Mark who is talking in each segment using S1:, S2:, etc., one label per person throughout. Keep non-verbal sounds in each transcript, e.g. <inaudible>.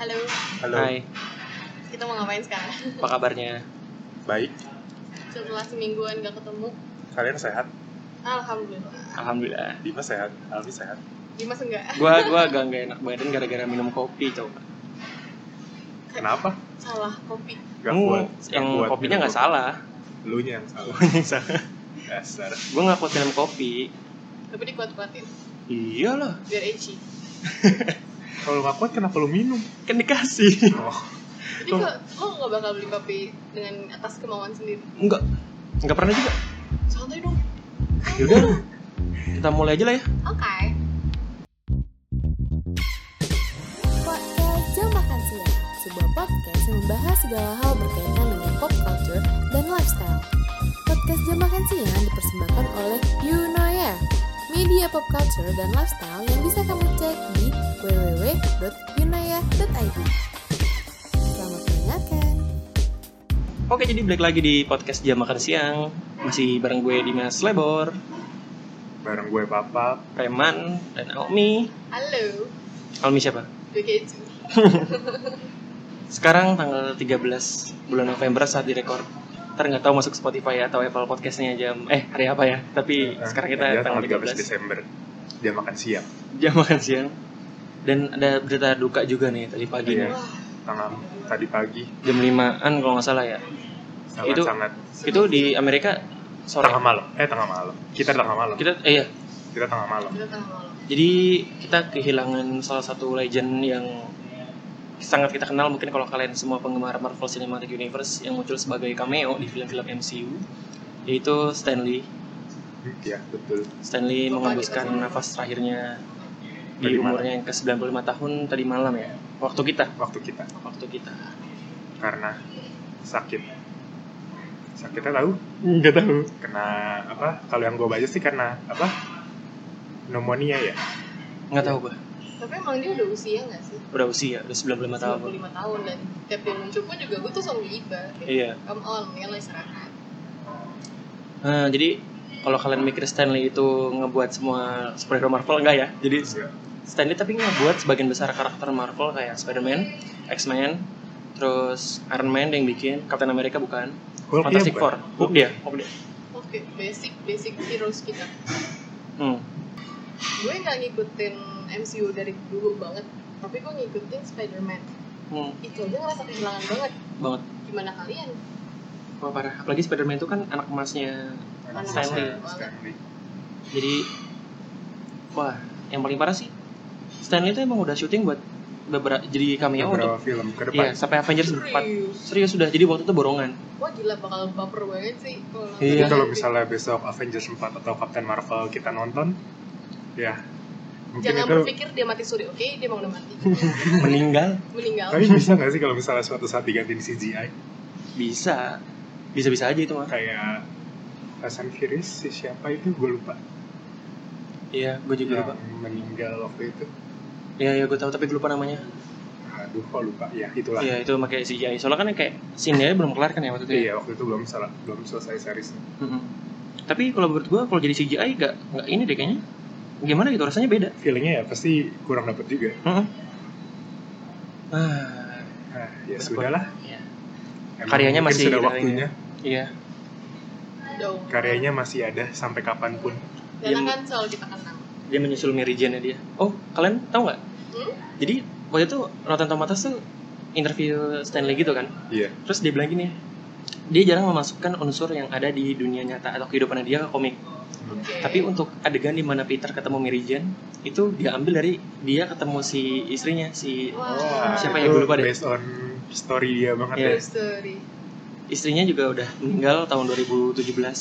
S1: Halo,
S2: Halo.
S3: Hai,
S1: kita mau ngapain sekarang?
S3: apa kabarnya?
S2: Baik.
S1: Setelah semingguan gak ketemu,
S2: Kalian sehat?
S1: alhamdulillah.
S3: Alhamdulillah.
S2: Dimas sehat? Alfi sehat?
S1: Dimas enggak?
S3: Gua gua agak nggak enak badan gara-gara minum kopi coba.
S2: Kenapa?
S1: Salah kopi.
S2: Gak
S3: Kamu
S2: kuat.
S3: yang
S2: kuat
S3: kopinya
S2: minum
S3: nggak
S2: kopi.
S3: salah.
S2: Lu nya yang salah.
S3: yang salah.
S2: Dasar.
S3: Gua nggak kuat minum kopi.
S1: Tapi dikuat-kuatin
S3: Iyalah,
S1: biar edgy.
S2: Kalau nggak kuat kenapa lu minum?
S3: kan dikasih.
S2: Oh,
S1: Jadi kok lo gak bakal beli kopi dengan atas kemauan sendiri?
S3: Enggak, enggak pernah juga.
S1: Santai dong.
S3: Yaudah, lah. kita mulai aja lah ya.
S1: Oke.
S4: Podcast Jam Makan Siang, sebuah podcast yang membahas segala hal berkaitan dengan pop culture dan lifestyle. Podcast Jam Makan Siang dipersembahkan oleh Yunoya, media pop culture dan lifestyle yang bisa kamu cek di www.yunoya.id. Selamat mendengarkan.
S3: Oke, jadi balik lagi di podcast jam makan siang. Masih bareng gue Dimas Lebor,
S2: bareng gue papa.
S3: Preman, dan Almi.
S1: Halo, gitu.
S3: Almi siapa?
S1: gue Keju.
S3: Sekarang tanggal 13 bulan November saat direkord. Ntar nggak tahu masuk Spotify atau Apple Podcastnya jam eh hari apa ya? Tapi sekarang kita
S2: Iya,
S3: tanggal 13
S2: Desember. Dia makan siang.
S3: jam makan siang. Dan ada berita duka juga nih tadi pagi
S2: Iya.
S3: nih.
S2: Tanggal tadi pagi
S3: jam 5-an kalau nggak salah ya.
S2: sangat
S3: Itu-
S2: sangat
S3: Itu di Amerika
S2: tengah
S3: sore.
S2: malam. Eh tengah malam. Kita tengah malam.
S3: Kita eh iya.
S2: Kita tengah malam.
S1: Kita tengah malam.
S3: Jadi kita kehilangan salah satu legend yang sangat kita kenal mungkin kalau kalian semua penggemar Marvel Cinematic Universe yang muncul sebagai cameo di film-film MCU yaitu Stanley
S2: Iya betul.
S3: Stanley
S1: Lupa
S3: menghembuskan
S1: kita semua.
S3: nafas terakhirnya di
S2: Tadi malam.
S3: umurnya yang ke-95 tahun tadi malam ya. Waktu kita,
S2: Waktu kita
S3: waktu kita.
S2: karena sakit. Sakitnya tahu?
S3: Enggak tahu.
S2: Kena apa? Kalau yang gue baca sih karena apa? Pneumonia ya.
S3: Enggak tahu gua.
S1: Tapi emang dia udah usia gak sih?
S3: Udah usia, udah 95 tahun.
S1: 95 tahun dan tiap dia muncul pun juga gue tuh selalu iba. Kayak,
S3: Iya.
S1: Come on, mendingan lo istirahat.
S3: Nah, jadi kalau kalian mikir Stanley itu ngebuat semua superhero Marvel enggak ya? Jadi Stanley tapi ngebuat sebagian besar karakter Marvel kayak Spider-Man, X-Men, terus Iron Man yang bikin, Captain America bukan,
S2: Hulk ya,
S3: Fantastic
S2: bukan?
S3: Four, Oh, iya, Hulk dia, Hulk dia.
S1: Oke, basic basic heroes kita.
S3: Hmm.
S1: gue nggak ngikutin MCU dari dulu banget tapi gue ngikutin Spider-Man
S3: Hmm,
S1: itu aja ngerasa kehilangan banget
S3: banget.
S1: gimana kalian
S3: Wah, parah. Apalagi Spider-Man itu kan anak emasnya
S2: Anak
S3: Stanley.
S2: saya, Stanley.
S3: jadi wah yang paling parah sih Stanley itu emang udah syuting buat beberapa jadi cameo untuk
S2: Beberapa film ke depan.
S3: iya sampai Avengers 4
S1: serius
S3: serius sudah jadi waktu itu borongan
S1: wah gila bakal baper banget sih kalau nonton
S3: Iya.
S2: Jadi
S1: nanti.
S2: kalau misalnya besok Avengers 4 atau Captain Marvel kita nonton, ya mungkin
S1: jangan
S2: itu.
S1: berpikir dia mati suri oke dia emang udah
S2: <laughs>
S1: mati
S3: meninggal
S1: meninggal
S2: Tapi bisa nggak sih kalau misalnya suatu saat digantiin CGI
S3: bisa bisa bisa aja itu mah
S2: kayak Fast and Furious si siapa itu gue lupa
S3: iya gue juga
S2: yang
S3: lupa
S2: meninggal waktu itu.
S3: iya iya gue tahu tapi gue lupa namanya
S2: Aduh kok lupa ya itulah.
S3: iya itu pakai CGI soalnya kan kayak scene-nya belum kelar kan ya waktu itu ya?
S2: Iya waktu itu belum salah belum selesai seriesnya.
S3: Mm-mm. tapi kalau menurut gue kalau jadi CGI gak nggak ini deh kayaknya gimana gitu rasanya beda
S2: Feelingnya ya pasti kurang dapet juga.
S3: Mm-mm. ah
S2: Nah, ya
S3: Betul.
S2: sudahlah.
S3: Iya.
S2: Emang
S3: Karyanya
S2: mungkin
S3: masih
S2: sudah
S3: ada
S2: waktunya.
S3: iya
S1: dong
S2: Karyanya masih ada sampai kapanpun.
S1: karena kan selalu kita kenang
S3: dia menyusul Mary Jane dia oh kalian tahu nggak
S1: Hmm?
S3: jadi waktu itu Rotten Tomatoes tuh interview Stanley gitu kan
S2: Iya.
S3: terus dia bilang gini dia jarang memasukkan unsur yang ada di dunia nyata atau kehidupan dia ke komik
S1: Oke.
S3: tapi untuk adegan di mana Peter ketemu Mary Jane itu dia ambil dari dia ketemu si istrinya si
S1: wah
S3: Siapa
S2: itu
S3: yang gue lupa deh?
S2: Based on story dia banget
S3: Iya.
S2: ya.
S1: true story
S3: istrinya juga udah meninggal tahun 2017
S1: oh oh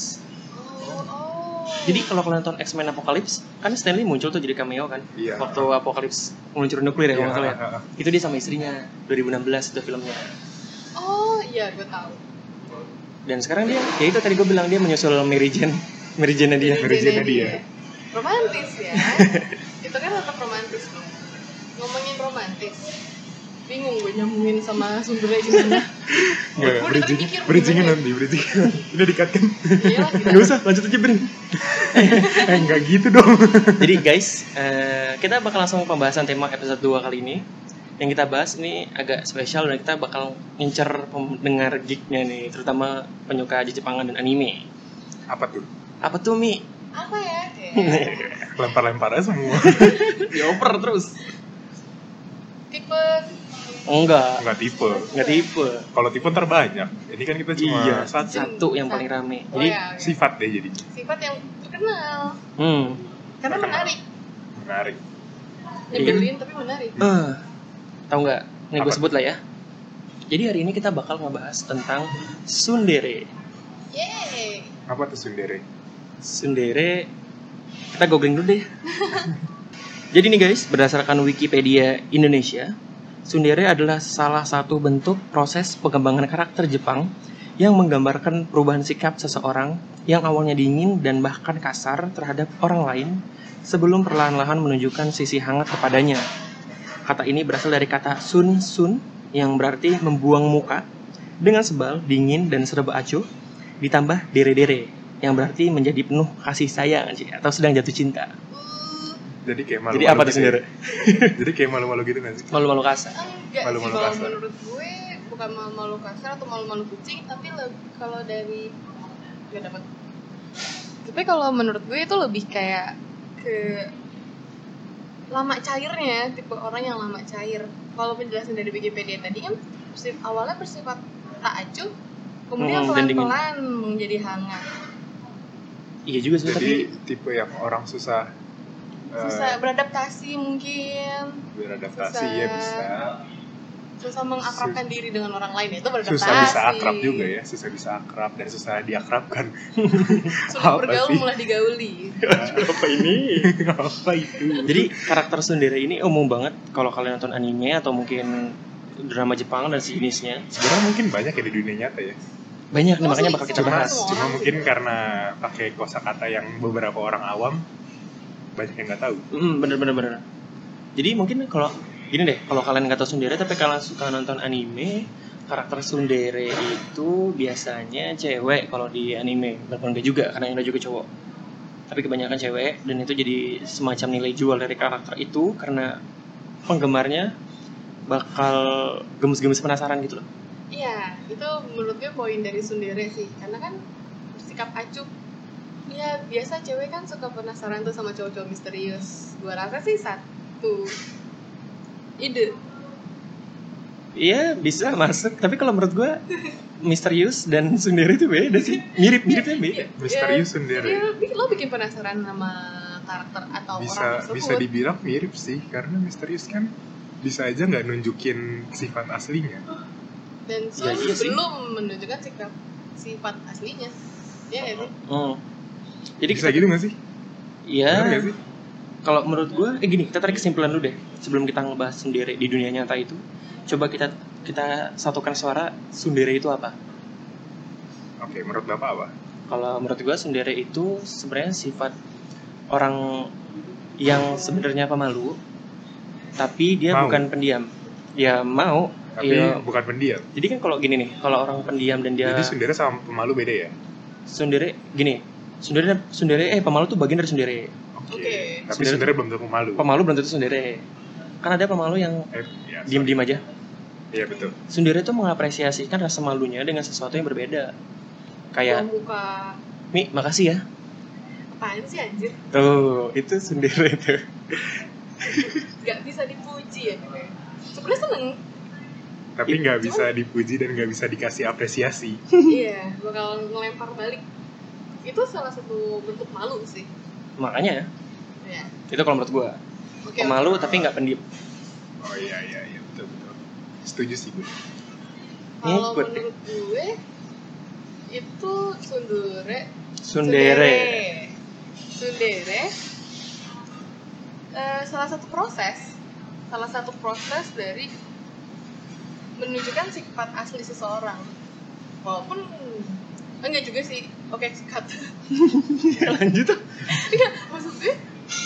S3: jadi kalau kalian nonton X-Men Apocalypse kan Stanley muncul tuh jadi cameo kan
S2: Iya.
S3: waktu Apocalypse meluncur nuklir ya
S2: Iya,
S3: kalau nggak salah ya.
S2: ah, ah, ah.
S3: itu dia sama istrinya 2016 itu filmnya
S1: oh iya gue tahu
S3: dan sekarang dia ya itu tadi gue bilang dia menyusul Mary Jane Mary Jane dia
S2: Mary Jane dia.
S1: romantis ya itu kan tetap romantis dong ngomongin romantis bingung gue nyambungin sama sumbernya gimana
S2: Nggak,
S1: Gua udah
S2: bridging,
S1: mikir
S2: Iya, bridgingnya
S1: gimana.
S2: nanti, bridging. Udah dikatkan. <laughs>
S1: Iyalah,
S3: nggak usah lanjut aja Brin
S2: Eh, enggak gitu dong.
S3: jadi guys eh, kita bakal langsung pembahasan tema episode 2 kali ini yang kita bahas ini agak spesial dan kita bakal ngincer pendengar geeknya nih, terutama penyuka Jepangan dan anime.
S2: Apa tuh?
S3: Apa tuh Mi?
S1: Apa ya? Ya.
S2: Lempar-lempar aja semua. <laughs>
S3: Dioper terus.
S1: Tipe
S3: Enggak,
S2: Enggak tipe.
S3: enggak tipe.
S2: Kalau tipe ntar banyak. Ini kan kita cuma
S3: Iya,
S2: satu
S3: satu yang paling rame.
S1: oh
S3: Jadi,
S1: ya, oke.
S2: sifat deh jadi
S1: sifat yang terkenal
S3: hmm,
S1: karena
S2: Terkenal.
S1: menarik.
S2: menarik.
S1: Nyebelin tapi menarik.
S3: eh, tahu nggak? Ini gue
S2: Apa?
S3: sebut lah ya. Jadi hari ini kita bakal ngebahas tentang sundere.
S1: Yeay.
S2: Apa tuh sundere?
S3: Sundere, kita googling dulu deh. Jadi nih guys, berdasarkan Wikipedia Indonesia, sundere adalah salah satu bentuk proses pengembangan karakter Jepang yang menggambarkan perubahan sikap seseorang yang awalnya dingin dan bahkan kasar terhadap orang lain sebelum perlahan-lahan menunjukkan sisi hangat kepadanya. Kata ini berasal dari kata sun sun yang berarti membuang muka dengan sebal, dingin dan serba acuh ditambah dere-dere yang berarti menjadi penuh kasih sayang anjir, atau sedang jatuh cinta.
S1: Uh,
S2: Jadi kayak malu.
S3: Jadi apa tuh sundere?
S2: <laughs> Jadi kayak malu-malu gitu nggak sih?
S3: Malu-malu kasar.
S1: enggak Kan sih
S2: Malu-malu
S1: kalau
S2: kasar.
S1: menurut gue bukan malu-malu kasar atau malu-malu kucing tapi lebih kalau dari nggak dapat tapi kalau menurut gue itu lebih kayak ke lama cairnya tipe orang yang lama cair kalau penjelasan dari Wikipedia tadi kan bersif- awalnya bersifat tak acuh kemudian
S3: Mm, dan dingin.
S1: pelan-pelan menjadi hangat
S3: Iya juga sih, tapi
S2: Jadi tipe yang orang susah eh,
S1: susah beradaptasi mungkin
S2: beradaptasi
S1: susah.
S2: ya bisa
S1: susah mengakrabkan diri dengan orang lain itu beradaptasi
S2: susah bisa akrab juga ya susah bisa akrab dan susah diakrabkan
S1: sudah
S2: Apa
S1: bergaul
S2: sih?
S1: mulai digauli
S2: <laughs> apa <laughs> ini apa itu
S3: jadi karakter sundere ini umum banget kalau kalian nonton anime atau mungkin drama Jepang dan sejenisnya.
S2: sebenarnya mungkin banyak ya di dunia nyata ya
S3: Banyak nih
S1: Oh,
S3: makanya
S1: sih,
S3: bakal kita
S1: semua-
S3: bahas.
S1: semua.
S2: cuma
S1: Orang
S2: mungkin
S1: sih.
S2: karena pakai kosakata yang beberapa orang awam banyak yang nggak tahu
S3: Hmm, bener bener bener. Jadi mungkin kalau gini deh, kalau kalian nggak tahu sundere tapi kalian suka nonton anime, karakter sundere itu biasanya cewek kalau di anime, walaupun nggak juga karena yang ada juga cowok. Tapi kebanyakan cewek dan itu jadi semacam nilai jual dari karakter itu karena penggemarnya bakal gemes-gemes penasaran gitu loh.
S1: Iya, itu menurut gue poin dari Sundere sih. Karena kan bersikap acuh. Ya, biasa cewek kan suka penasaran tuh sama cowok-cowok misterius. Gue rasa sih satu ide.
S3: Iya bisa masuk, tapi kalau menurut gua misterius dan sundere itu beda sih, ya, mirip-miripnya
S2: Iya.
S3: beda.
S2: misterius
S1: Jadi
S3: iya.
S2: sendiri
S1: lo- Iya. lo bikin penasaran sama karakter atau orang
S2: bisa
S1: tersebut.
S2: bisa dibilang mirip sih karena misterius kan bisa aja nggak nunjukin sifat aslinya
S1: Dan Sun
S3: Ya, iya sih.
S1: belum menunjukkan sikap sifat aslinya. Iya nggak sih?
S3: Hmm. Jadi
S2: bisa gitu nggak sih Bener ya,
S3: Iya.
S2: nggak sih
S3: Kalau menurut gue, eh gini, kita tarik kesimpulan dulu deh. Sebelum kita ngebahas sundere di dunia nyata itu, coba kita kita satukan suara sundere itu apa?
S2: oke menurut bapak apa
S3: Kalau menurut gue sundere itu sebenarnya sifat orang yang sebenarnya pemalu, tapi dia
S2: Mau.
S3: bukan pendiam. Ya mau.
S2: tapi
S3: Iya. Ya.
S2: bukan pendiam
S3: Jadi kan kalau gini nih, kalau orang pendiam dan dia
S2: jadi sendiri sama pemalu beda ya
S3: sundere gini, sundere sundere eh pemalu tuh bagian dari sundere.
S2: oke
S1: Oke.
S2: tapi
S3: Sundere-
S2: sendiri belum tentu pemalu
S3: Pemalu belum tentu sundere. Kan ada pemalu yang
S2: eh, ya, sorry.
S3: diem-diem aja.
S2: iya betul
S3: Sundere itu mengapresiasikan rasa malunya dengan sesuatu yang berbeda.
S1: Oh.
S3: Kayak,
S1: Membuka
S3: Mi, makasih ya.
S1: apaan sih anjir?
S3: Tuh, itu sundere tuh.
S1: Gak bisa dipuji ya gue. Sebenernya seneng.
S2: tapi nggak bisa dipuji dan nggak bisa dikasih apresiasi
S1: iya bakal ngelempar balik itu salah satu bentuk malu sih
S3: Makanya,
S1: ya
S3: itu kalau menurut gua.
S1: oke
S3: Pemalu tapi nggak pendiam.
S2: oh iya iya iya betul betul setuju sih gue
S1: kalau
S3: ngikut deh.
S1: menurut gue itu sundere
S3: Sundere.
S1: sundere eh, salah satu proses salah satu proses dari menunjukkan sifat asli seseorang walaupun enggak juga sih oke cut
S3: Ya, <laughs> lanjut tuh.
S1: maksud gue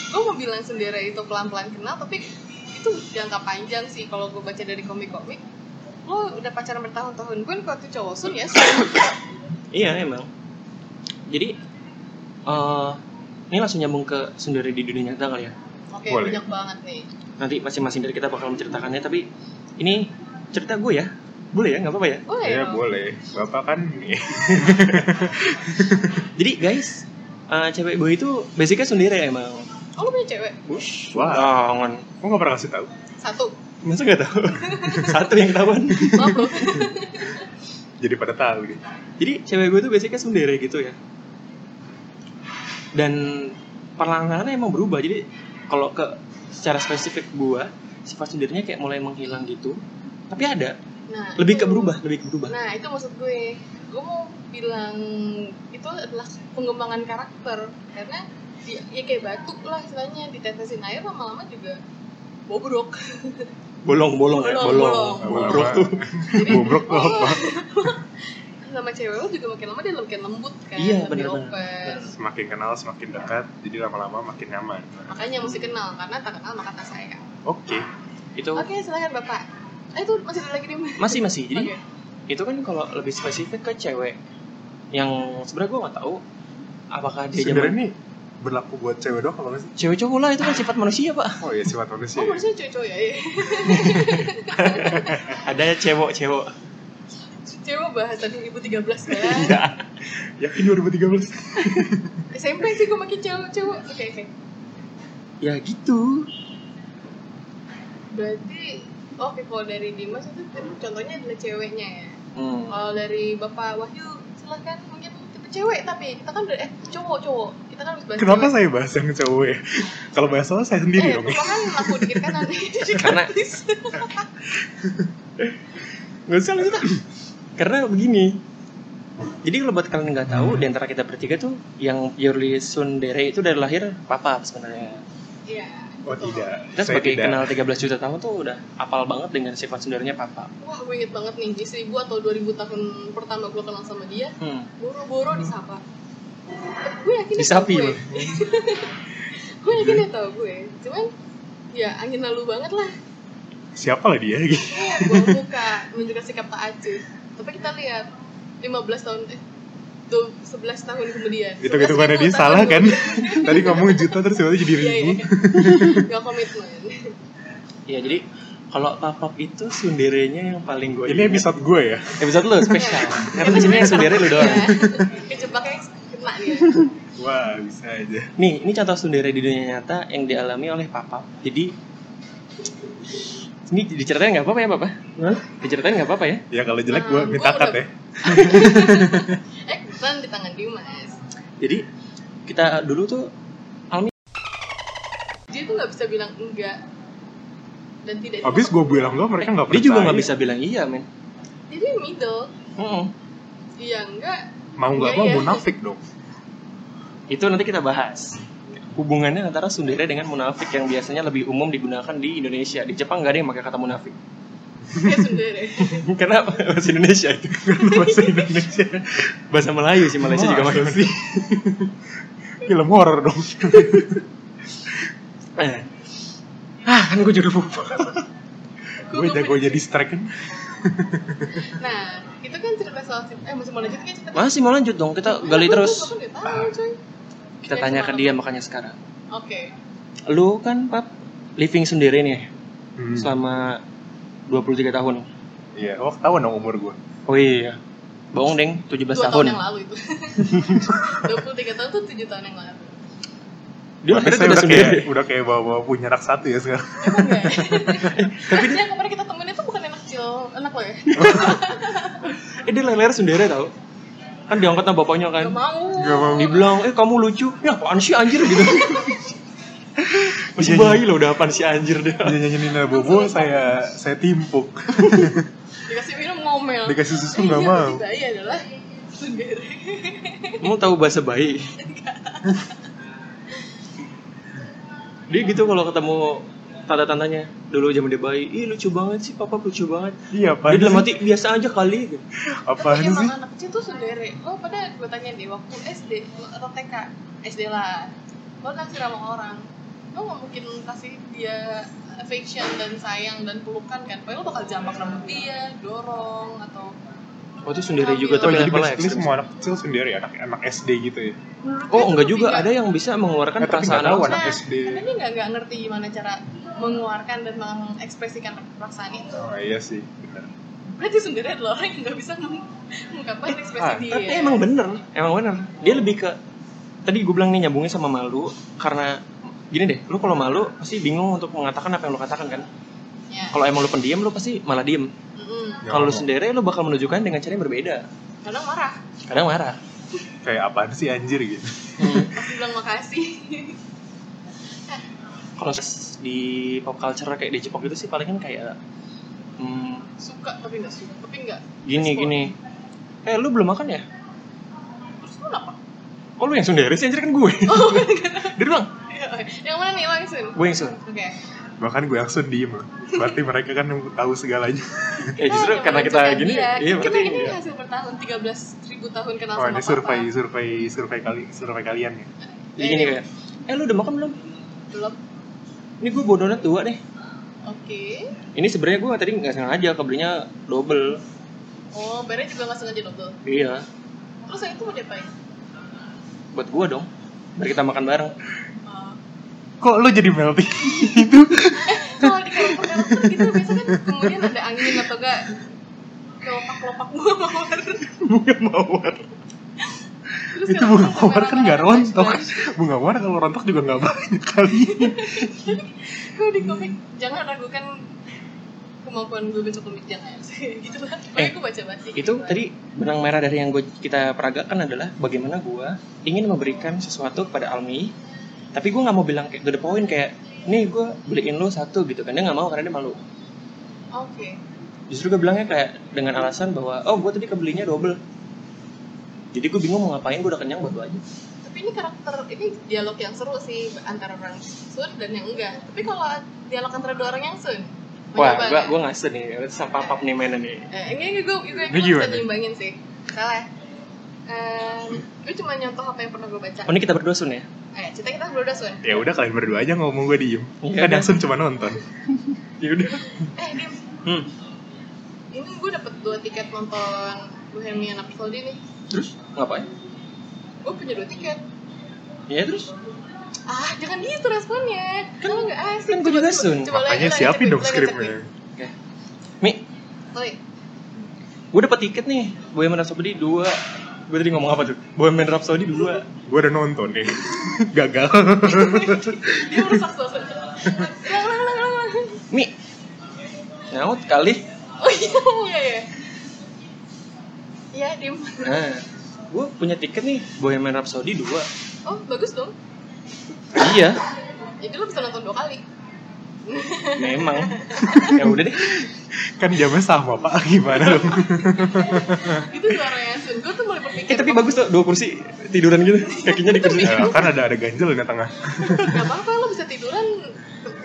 S1: gue mau bilang sendiri itu pelan pelan kenal tapi itu jangka panjang sih kalau gue baca dari komik komik lo udah pacaran bertahun-tahun pun kalau tuh cowok sun ya sun.
S3: Iya, emang. Jadi, eh ini langsung nyambung ke sundere di dunia nyata kali ya.
S1: oke
S2: Boleh.
S1: banyak banget nih
S3: nanti masing-masing dari kita bakal menceritakannya tapi ini cerita gue ya boleh ya nggak apa-apa ya
S1: boleh
S2: ya
S1: dong.
S2: boleh bapak kan
S3: jadi guys eh, cewek gue itu basicnya sendiri emang
S1: oh lu punya cewek
S2: Ush, <laughs> wah
S3: Bangon.
S2: kok nggak pernah kasih tahu <laughs>
S1: satu
S3: masa nggak
S1: <laughs>
S3: tahu satu yang ketahuan
S1: oh.
S2: jadi pada tahu nih
S3: jadi cewek gue tuh basicnya sendiri gitu ya dan perlahan-lahan emang berubah jadi kalau ke secara spesifik gue sifat sendirinya kayak mulai menghilang gitu tapi ada
S1: nah
S3: lebih ke
S1: itu-
S3: berubah lebih ke berubah
S1: nah itu maksud gue gue mau bilang itu adalah pengembangan karakter karena dia ya kayak batuk lah istilahnya ditetesin air lama-lama juga bobrok
S3: bolong-bolong ya
S1: Bolong,
S3: bolong
S1: bolong.
S3: bobrok
S2: <laughs>
S3: tuh
S1: <laughs>
S2: bobrok
S1: Oh,
S2: tuh apa
S1: sama cewek lu juga makin lama dia makin lembut kan
S3: Iya,
S1: lebih
S3: bener-bener.
S1: open.
S2: semakin kenal semakin dekat jadi lama-lama makin nyaman
S1: makanya mesti kenal karena tak kenal maka tak sayang
S2: oke
S3: itu
S1: oke silakan bapak eh itu masih ada lagi nih Mas.
S3: masih masih jadi
S1: Oke. Oh,
S3: itu kan kalau lebih spesifik ke cewek yang sebenarnya gue nggak tahu apakah dia
S2: sebenarnya
S3: zaman-
S2: ini berlaku buat cewek doang kalau nggak sih
S3: cewek cowok lah itu kan sifat manusia pak
S2: oh iya sifat manusia
S1: oh manusia cowok-cowok ya <laughs> iya.
S3: ada cewek cewek
S1: cewek bahasan 2013 kan
S2: yakin 2013
S1: SMP sih gue makin cewek-cewek oke oke
S3: ya gitu
S1: berarti oke kalau dari Dimas itu kan contohnya adalah ceweknya ya
S3: Hmm.
S1: kalau dari Bapak Wahyu silakan mungkin tipe cewek tapi kita kan udah- eh cowok-cowok kita kan harus bahas
S2: kenapa
S1: cewek.
S2: saya bahas yang cowok ya kalau bahas cowok saya sendiri
S1: eh,
S2: dong
S1: Bapak kan laku dikit kanan <laughs>
S3: Karena- Gak usah, gak usah. Karena begini. Jadi kalau buat kalian nggak tahu, di antara kita bertiga tuh yang purely Sundere itu dari lahir papa sebenarnya.
S1: iya
S2: oh
S1: betul.
S2: tidak
S3: Kita
S2: saya
S3: sebagai
S2: tidak
S3: kenal 13 juta tahun tuh udah apal banget dengan sifat Sunderenya papa.
S1: Wah, gue inget banget nih, istri gue atau 2000 tahun pertama gue kenal sama dia,
S3: Hmm.
S1: boro-boro disapa. Gue yakin dia
S3: Disapi,
S1: tau gue.
S3: loh.
S1: gue yakin dia tau gue. Cuman, ya angin lalu banget lah.
S2: siapa lah dia gitu
S1: Gue buka, menunjukkan sikap tak acuh. Tapi kita lihat, 15 tahun, eh, du- 11 tahun kemudian.
S2: gitu
S1: 11
S2: gitu karena
S1: ribu
S2: dia
S1: tahun
S2: salah kan
S1: kemudian.
S2: tadi ngomong juta terus tiba-tiba jadi
S1: Iya,
S2: ribu
S1: iya. <laughs> Gak komitmen.
S3: Ya jadi kalau papa itu Sunderenya yang paling gue
S2: ini episode gue ya
S3: episode lo
S2: <laughs>
S3: spesial. Karena di sini yang Sundere lu doang.
S1: Ya. Kejebaknya kena dia.
S2: wah bisa aja
S3: Nih, ini contoh Sundere di dunia nyata yang dialami oleh papa. Jadi ini diceritain nggak apa-apa ya, Papa? Diceritain nggak apa-apa ya?
S2: ya kalau jelek
S1: Nah,
S2: gue
S1: gua
S2: minta cut
S1: udah-
S2: ya
S1: Eh, kebetulan di tangan Dimas.
S3: Jadi kita dulu tuh
S1: dia tuh nggak bisa bilang enggak dan tidak
S2: habis gue bilang lo mereka nggak
S3: eh, dia
S2: percaya
S3: juga nggak bisa bilang iya men
S1: jadi middle
S3: Mm-mm.
S1: iya enggak
S2: mau nggak
S1: Iya,
S2: mau
S1: iya.
S2: munafik dong <laughs>
S3: itu nanti kita bahas hubungannya antara sundere dengan munafik yang biasanya lebih umum digunakan di Indonesia di Jepang nggak ada yang pakai kata munafik <laughs>
S1: ya sendiri <laughs>
S3: karena bahasa Indonesia itu <laughs>
S2: bahasa Indonesia
S3: bahasa Melayu sih <laughs> Malaysia juga
S2: Masa
S3: pakai
S2: sih? film horor dong
S3: Eh. ah kan gue jadi
S2: <laughs>
S3: lupa
S2: gue jago jadi strike kan
S1: nah itu kan cerita soal si- eh masih mau lanjut kan cerita
S3: masih mau lanjut dong kita
S1: Nah,
S3: gali
S1: gua-
S3: terus
S1: gua nggak tahu, cuy.
S3: kita tanya ke dia makanya sekarang
S1: oke
S3: lu kan pap living sendiri nih ya,
S2: Hmm.
S3: selama 23 tahun
S2: iya oh ketahuan dong umur gue
S3: oh iya bohong deng 17
S1: dua tahun yang lalu itu <laughs> 23 tahun tuh 7 tahun yang lalu
S3: dia
S2: Makanya saya
S3: lahirnya udah
S2: udah
S3: sundere
S2: kayak udah kayak bawa bawa punya anak satu ya sekarang <laughs>
S1: emang
S3: <laughs>
S1: enggak ya? yang kemarin kita temuin itu bukan anak kecil anak lo ya
S3: Kan. Eh dia lahir sendiri tau Kan diangkat sama bapaknya
S1: gak
S3: kan
S1: mau
S2: Nggak mau.
S3: Dibilang eh kamu lucu Ya apaan sih anjir gitu Masih
S2: Iya, iya.
S3: bayi loh udah apaan sih anjir dia
S2: dia nyanyiin lagu bobo saya saya timpuk <laughs>
S1: dikasih minum ngomel
S2: dikasih susu
S1: Eh,
S2: nggak
S1: iya,
S2: mau
S1: berarti bayi adalah sendiri
S3: Kamu tahu bahasa bayi Dia gitu kalau ketemu tanda-tandanya dulu zaman dia bayi ih lucu banget sih papa lucu banget
S2: iya
S3: dia
S2: apaan
S3: dalam
S2: sih
S3: hati biasa aja kali gitu.
S2: apaan
S1: Tapi emang
S2: sih
S1: anak kecil tuh sendiri lo pada gue tanya deh waktu SD lo- atau TK SD lah lo naksir sama orang lo nggak mungkin kasih dia affection dan sayang dan pelukan kan paling lo bakal jambak rambut dia dorong atau
S3: oh itu sendiri juga
S2: Oh,
S3: tapi
S2: jadi
S3: levelnya
S2: basically
S3: ekstrim.
S2: semua anak kecil sendiri, ya, anak anak SD gitu ya.
S1: menurut gue
S3: oh
S1: itu
S3: enggak
S1: lebih
S3: juga
S1: nggak-
S3: ada yang bisa mengeluarkan
S2: Eh, tapi nggak
S3: perasaan
S2: tahu
S3: langsung.
S2: anak
S1: Nah,
S2: SD.
S1: karena dia nggak nggak ngerti gimana cara mengeluarkan dan mengekspresikan perasaan itu
S2: oh iya sih bener
S1: berarti sendiri adalah orang yang nggak bisa meng- mengungkapkan ekspresi
S2: Ah,
S1: dia
S3: Eh, Tapi emang bener, Iya. emang bener. Dia lebih ke tadi gue bilang nih nyambungnya sama malu karena gini deh, lu kalau malu pasti bingung untuk mengatakan apa yang lu katakan kan.
S1: Ya.
S3: Kalau emang lu pendiam, lu pasti malah diem.
S1: Mm-mm.
S2: Ya,
S3: Kalau lu sendiri, lu bakal menunjukkan dengan cara yang berbeda.
S1: kadang marah
S3: Kadang marah.
S2: kayak apaan sih anjir gitu
S3: Hmm.
S1: pasti bilang makasih
S3: <laughs>
S1: <laughs>
S3: Kalau di pop culture kayak di Jepang itu sih palingan kayak hmm,
S1: suka tapi nggak suka tapi nggak
S3: gini
S1: Respon.
S3: gini. Eh lu belum makan ya?
S1: terus lu apa
S3: Oh lu yang sendiri sih anjir kan <laughs> gue. Dia bilang
S1: <laughs>
S3: <laughs>
S1: yang mana nih langsung
S3: gue yang sendiri.
S1: oke
S2: bahkan gue langsung diem loh berarti mereka kan yang tahu segalanya
S3: Ya justru
S1: yang
S3: karena kita
S1: menunjukkan
S3: gini,
S1: dia.
S3: iya
S1: kita
S3: berarti.
S1: ini
S3: iya.
S1: hasil bertahun 13.000 ribu tahun kenal
S2: oh
S1: sama
S2: ini
S1: papa
S2: survei survei survei kali survei kalian ya
S3: Jadi gini kayak, eh lu udah makan belum?
S1: belum
S3: Ini gue bawa donat dua deh.
S1: oke
S3: Ini sebenarnya gue tadi nggak sengaja kebelinya double.
S1: oh berarti juga nggak sengaja double
S3: Iya,
S1: terus yang itu mau diapain
S3: buat gue dong. Biar kita makan bareng.
S1: Eh,
S2: kok lu jadi melting
S1: kalau di karakter-karakter gitu biasanya kan kemudian ada angin atau enggak kelopak-kelopak <laughs> bunga mawar
S2: bunga mawar
S1: Terus
S2: itu
S1: kalau
S2: bunga
S1: sampai
S2: mawar kan nggak
S1: lama-lama
S2: rontok
S1: flashback,
S2: bunga mawar kalau rontok juga nggak banyak kali
S1: kalau di komik jangan ragukan kemampuan gue bentuk komik jangan <laughs> gitu lah
S3: Eh,
S1: pokoknya gue baca baca
S3: Itu tadi benang merah dari yang gue kita peragakan adalah bagaimana gue ingin memberikan sesuatu kepada Almi. Tapi gue nggak mau bilang kayak to the point kayak, nih gue beliin lu satu gitu kan. Dia nggak mau karena dia malu.
S1: oke
S3: Justru gue bilangnya kayak dengan alasan bahwa, oh gue tadi kebelinya double. Jadi gue bingung mau ngapain, gue udah kenyang buat lu aja.
S1: tapi ini karakter ini dialog yang seru sih antara orang sun dan yang enggak tapi kalau dialog antara dua orang yang sun
S3: Wah,
S1: mencoba
S3: gue
S1: nggak?
S3: gue ngasih nih, sama papap nih mainan nih.
S1: Eh, ini ini gue gue
S2: Ini
S1: gue bisa
S2: gimana?
S1: nyimbangin sih salah ya? Em, gue cuma nyontoh apa yang pernah gue baca
S3: Oh ini kita berdua sun ya?
S1: eh cerita kita berdua sun
S2: ya udah kalian berdua aja ngomong gue diem
S3: Iya.
S2: kan Dasun cuma nonton ya udah
S1: eh dim
S3: Hmm.
S1: ini gue dapet dua tiket nonton Bohemian Rhapsody nih
S3: Terus ngapain?
S1: gue punya dua tiket
S3: Ya terus
S1: ah jangan gitu responnya kan lo nggak asik
S3: kan gue juga sun.
S2: makanya siapin dong skripnya
S3: Oke. Mi,
S1: sorry
S3: gue dapet tiket nih Bohemian Rhapsody 2 Gue tadi ngomong apa tuh? Bohemian Rhapsody 2
S2: gue udah nonton nih <laughs> gagal
S1: dia merusak suasana ulang ulang ulang ulang
S3: Mi Nyaut kali
S1: oh iya iya iya iya dim
S3: Nah Gue punya tiket nih Bohemian Rhapsody 2
S1: oh bagus dong
S3: Iya
S1: jadi lo bisa nonton dua kali
S3: Memang Ya udah deh
S2: kan jamnya sama pak gimana dong
S1: itu suaranya sun gue tuh mulai berpikir
S3: Eh tapi bagus tuh Dua kursi Tiduran gitu Kakinya di kursi
S2: Ya, kan ada ada ganjel di tengah
S1: Gak apa-apa lo bisa tiduran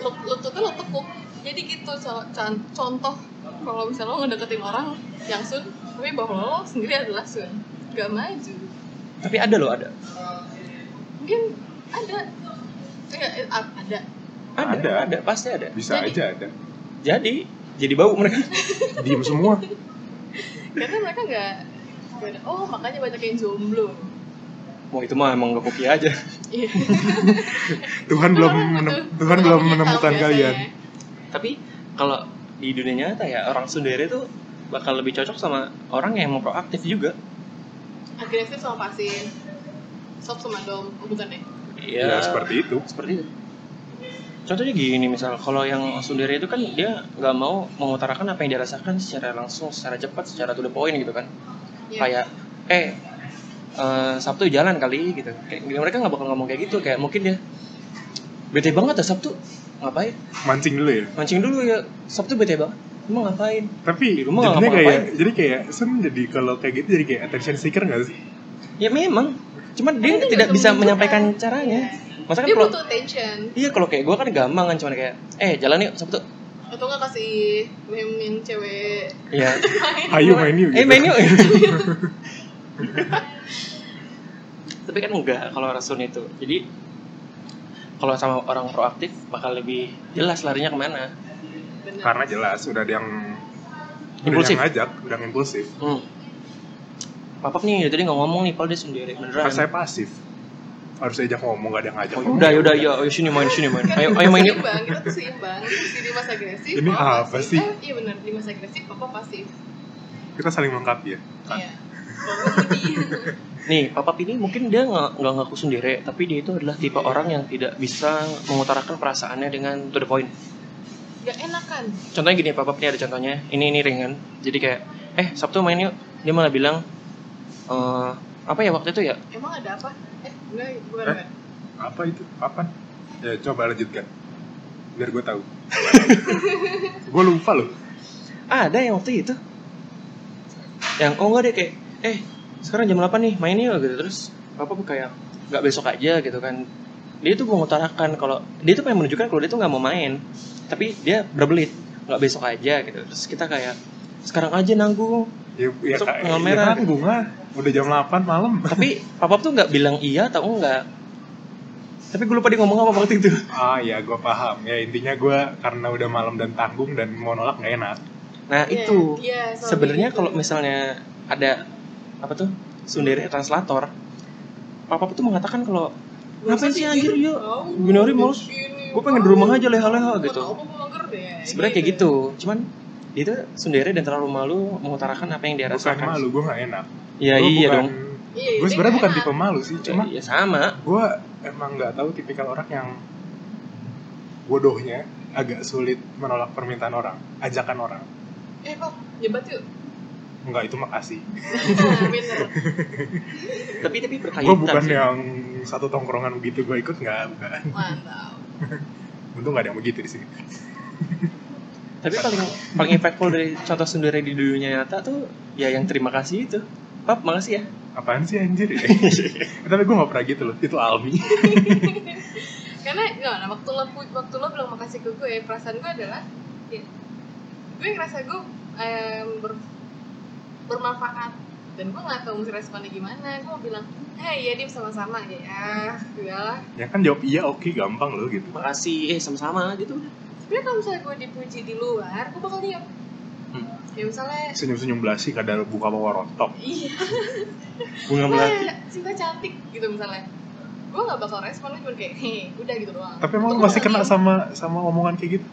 S1: lu- lututnya lo tekuk jadi gitu so- can- contoh kalau misalnya lo ngedeketin orang yang sun tapi bahwa lo sendiri adalah sun gak maju
S3: Tapi ada loh ada
S1: mungkin ada enggak eh, a- ada
S3: Ada
S2: Ada.
S3: Ada, Pasti ada
S2: bisa
S1: Jadi-
S2: aja ada
S3: Jadi Jadi bau mereka
S2: diem semua
S1: karena mereka nggak nggak ada. oh makanya banyak yang jomblo
S3: Wah itu mah emang gak kopi aja
S1: Iya.
S2: Tuhan <laughs> belum
S1: Orang
S2: menem-
S1: butuh-
S2: Tuhan
S1: butuh
S2: belum
S1: mental
S2: menemukan
S1: biasanya.
S2: kalian Iya.
S3: Tapi Kalau di dunia nyata ya Orang sendiri tuh Bakal lebih cocok sama Orang yang mau proaktif juga
S1: agresif sama pasif sob sama dom Oh, bukan deh
S2: ya seperti itu
S3: seperti itu contohnya gini misal kalau yang sundere itu kan dia nggak mau mengutarakan apa yang dia rasakan secara langsung secara cepat secara to the point gitu kan
S1: Iya.
S3: kayak eh eh, Sabtu jalan kali gitu kayak mereka nggak bakal ngomong kayak gitu kayak mungkin dia bete banget ya Sabtu ngapain
S2: mancing dulu ya
S3: mancing dulu ya Sabtu bete banget emang ngapain
S2: tapi
S3: Di rumah
S2: jadinya
S3: ngapa-ngapain.
S2: kayak jadi kayak sun jadi kalau kayak gitu jadi kayak attention seeker nggak sih
S3: ya memang cuman
S1: Karena
S3: dia
S1: dia
S3: tidak
S1: nggak
S3: bisa
S1: menunjukkan.
S3: menyampaikan caranya masa kan
S1: Iya. dia
S3: kalau
S1: butuh attention
S3: iya kalau kayak gue kan gampang kan cuman kayak eh jalan yuk Sabtu
S1: atau nggak kasih memin cewek
S3: ya
S2: Iya. ayo main yuk
S3: Eh
S2: gitu. <laughs>
S3: menu. Tapi kan enggak kalau rasun itu. Jadi kalau sama orang proaktif bakal lebih jelas larinya kemana.
S1: benar
S2: karena jelas udah ada yang udah
S3: Impulsif.
S2: yang ngajak udah yang impulsif
S3: Hmm. Papap nih dari tadi nggak ngomong nih, padahal dia sendiri beneran.
S2: Kan saya pasif harus diajak ngomong gak ada yang ngajak ngomong.
S3: udah yaudah ya ayo sini main sini main ayo ayo main yuk
S1: seimbang Kan kita tuh seimbang si Dimas agresif
S2: Ini
S1: Papa
S2: apa
S1: pasif.
S2: sih?
S1: eh, iya benar Dimas agresif papa pasif
S2: kita saling melengkapi ya
S1: iya Bapak <laughs> Budi.
S3: nih papa ini mungkin dia nggak nggak ngaku sendiri tapi dia itu adalah tipe orang yang tidak bisa mengutarakan perasaannya dengan to the point
S1: gak enakan
S3: contohnya gini papa ini ada contohnya ini ini ringan jadi kayak eh sabtu main yuk dia malah bilang eh apa ya waktu itu ya
S1: emang ada apa eh enggak bukan
S2: Eh?
S1: bukan.
S2: apa itu kapan ya coba lanjutkan biar gue <laughs> tahu gue lupa loh
S3: Ah, ada yang waktu itu yang oh enggak deh kayak eh sekarang jam 8 nih main yuk gitu terus papa kayak nggak besok aja gitu kan dia tuh mengutarakan kalau dia tuh pengen menunjukkan kalau dia tuh nggak mau main tapi dia berbelit nggak besok aja gitu terus kita kayak sekarang aja nanggung
S2: ya, ya,
S3: Masuk
S2: ka-
S3: tanggal
S2: ya
S3: merah.
S2: kan bunga udah jam 8 malam
S3: tapi papa tuh nggak bilang iya atau enggak tapi gue lupa dia ngomong apa waktu itu
S2: ah ya gue paham ya intinya gue karena udah malam dan tanggung dan mau nolak gak enak
S3: nah
S1: Iya,
S3: itu
S1: iya, soalnya
S3: sebenarnya
S1: gitu.
S3: kalau misalnya ada apa tuh sundere translator papa tuh mengatakan kalau
S1: gitu
S3: ngapain sih anjir yuk
S1: Tahu,
S3: Gini hari males.
S1: gini,
S3: Gua pengen di
S1: tahu.
S3: rumah aja leha-leha
S1: Gua
S3: gitu.
S1: tahu, gua mager deh, Iya,
S3: sebenarnya kayak gitu cuman dia tuh sundere dan terlalu malu mengutarakan apa yang dia
S2: bukan
S3: Ya, rasakan
S2: malu gue gak enak
S3: ya
S2: Gua
S3: iya
S2: bukan- Iya.
S3: dong
S1: Iya,
S2: gue
S1: dia
S2: sebenarnya
S1: nggak
S2: bukan
S1: enak.
S2: tipe malu sih cuma
S3: ya sama
S2: gue emang nggak tahu tipikal orang yang bodohnya agak sulit menolak permintaan orang ajakan orang
S1: eh kok nyebat yuk <laughs>
S2: enggak itu makasih
S1: Nah, bener
S3: tapi tapi berkaitan
S2: gue Oh, bukan ya.
S3: sih.
S2: yang satu tongkrongan begitu gue ikut nggak bukan
S1: mantap
S2: untung nggak ada yang begitu di sini
S3: tapi paling paling impactful dari contoh sundere di dunia nyata tuh ya yang terima kasih itu pap makasih ya
S2: apaan sih
S3: <laughs>
S2: anjir tapi gue gak pernah gitu loh itu almi
S1: karena nggak nah, waktu lo waktu lo bilang makasih ke gue perasaan gue adalah ya, gue ngerasa gue em, ber- bermanfaat dan gue nggak tahu mesti responnya gimana gue mau bilang hei ya dia sama-sama ya udahlah
S2: ya kan jawab iya oke gampang loh gitu
S3: makasih eh sama-sama gitu
S1: sebenarnya kalau misalnya gue dipuji di luar gue bakal diam
S3: Hmm.
S1: ya misalnya
S2: senyum senyum belasi kadar buka bawa rontok
S1: iya
S3: bunga
S1: <laughs>
S3: melati
S1: wah cinta cantik gitu misalnya gue nggak bakal respon gue cuma kayak hei udah gitu doang
S2: tapi emang lu masih
S1: iya.
S2: kena sama sama omongan kayak gitu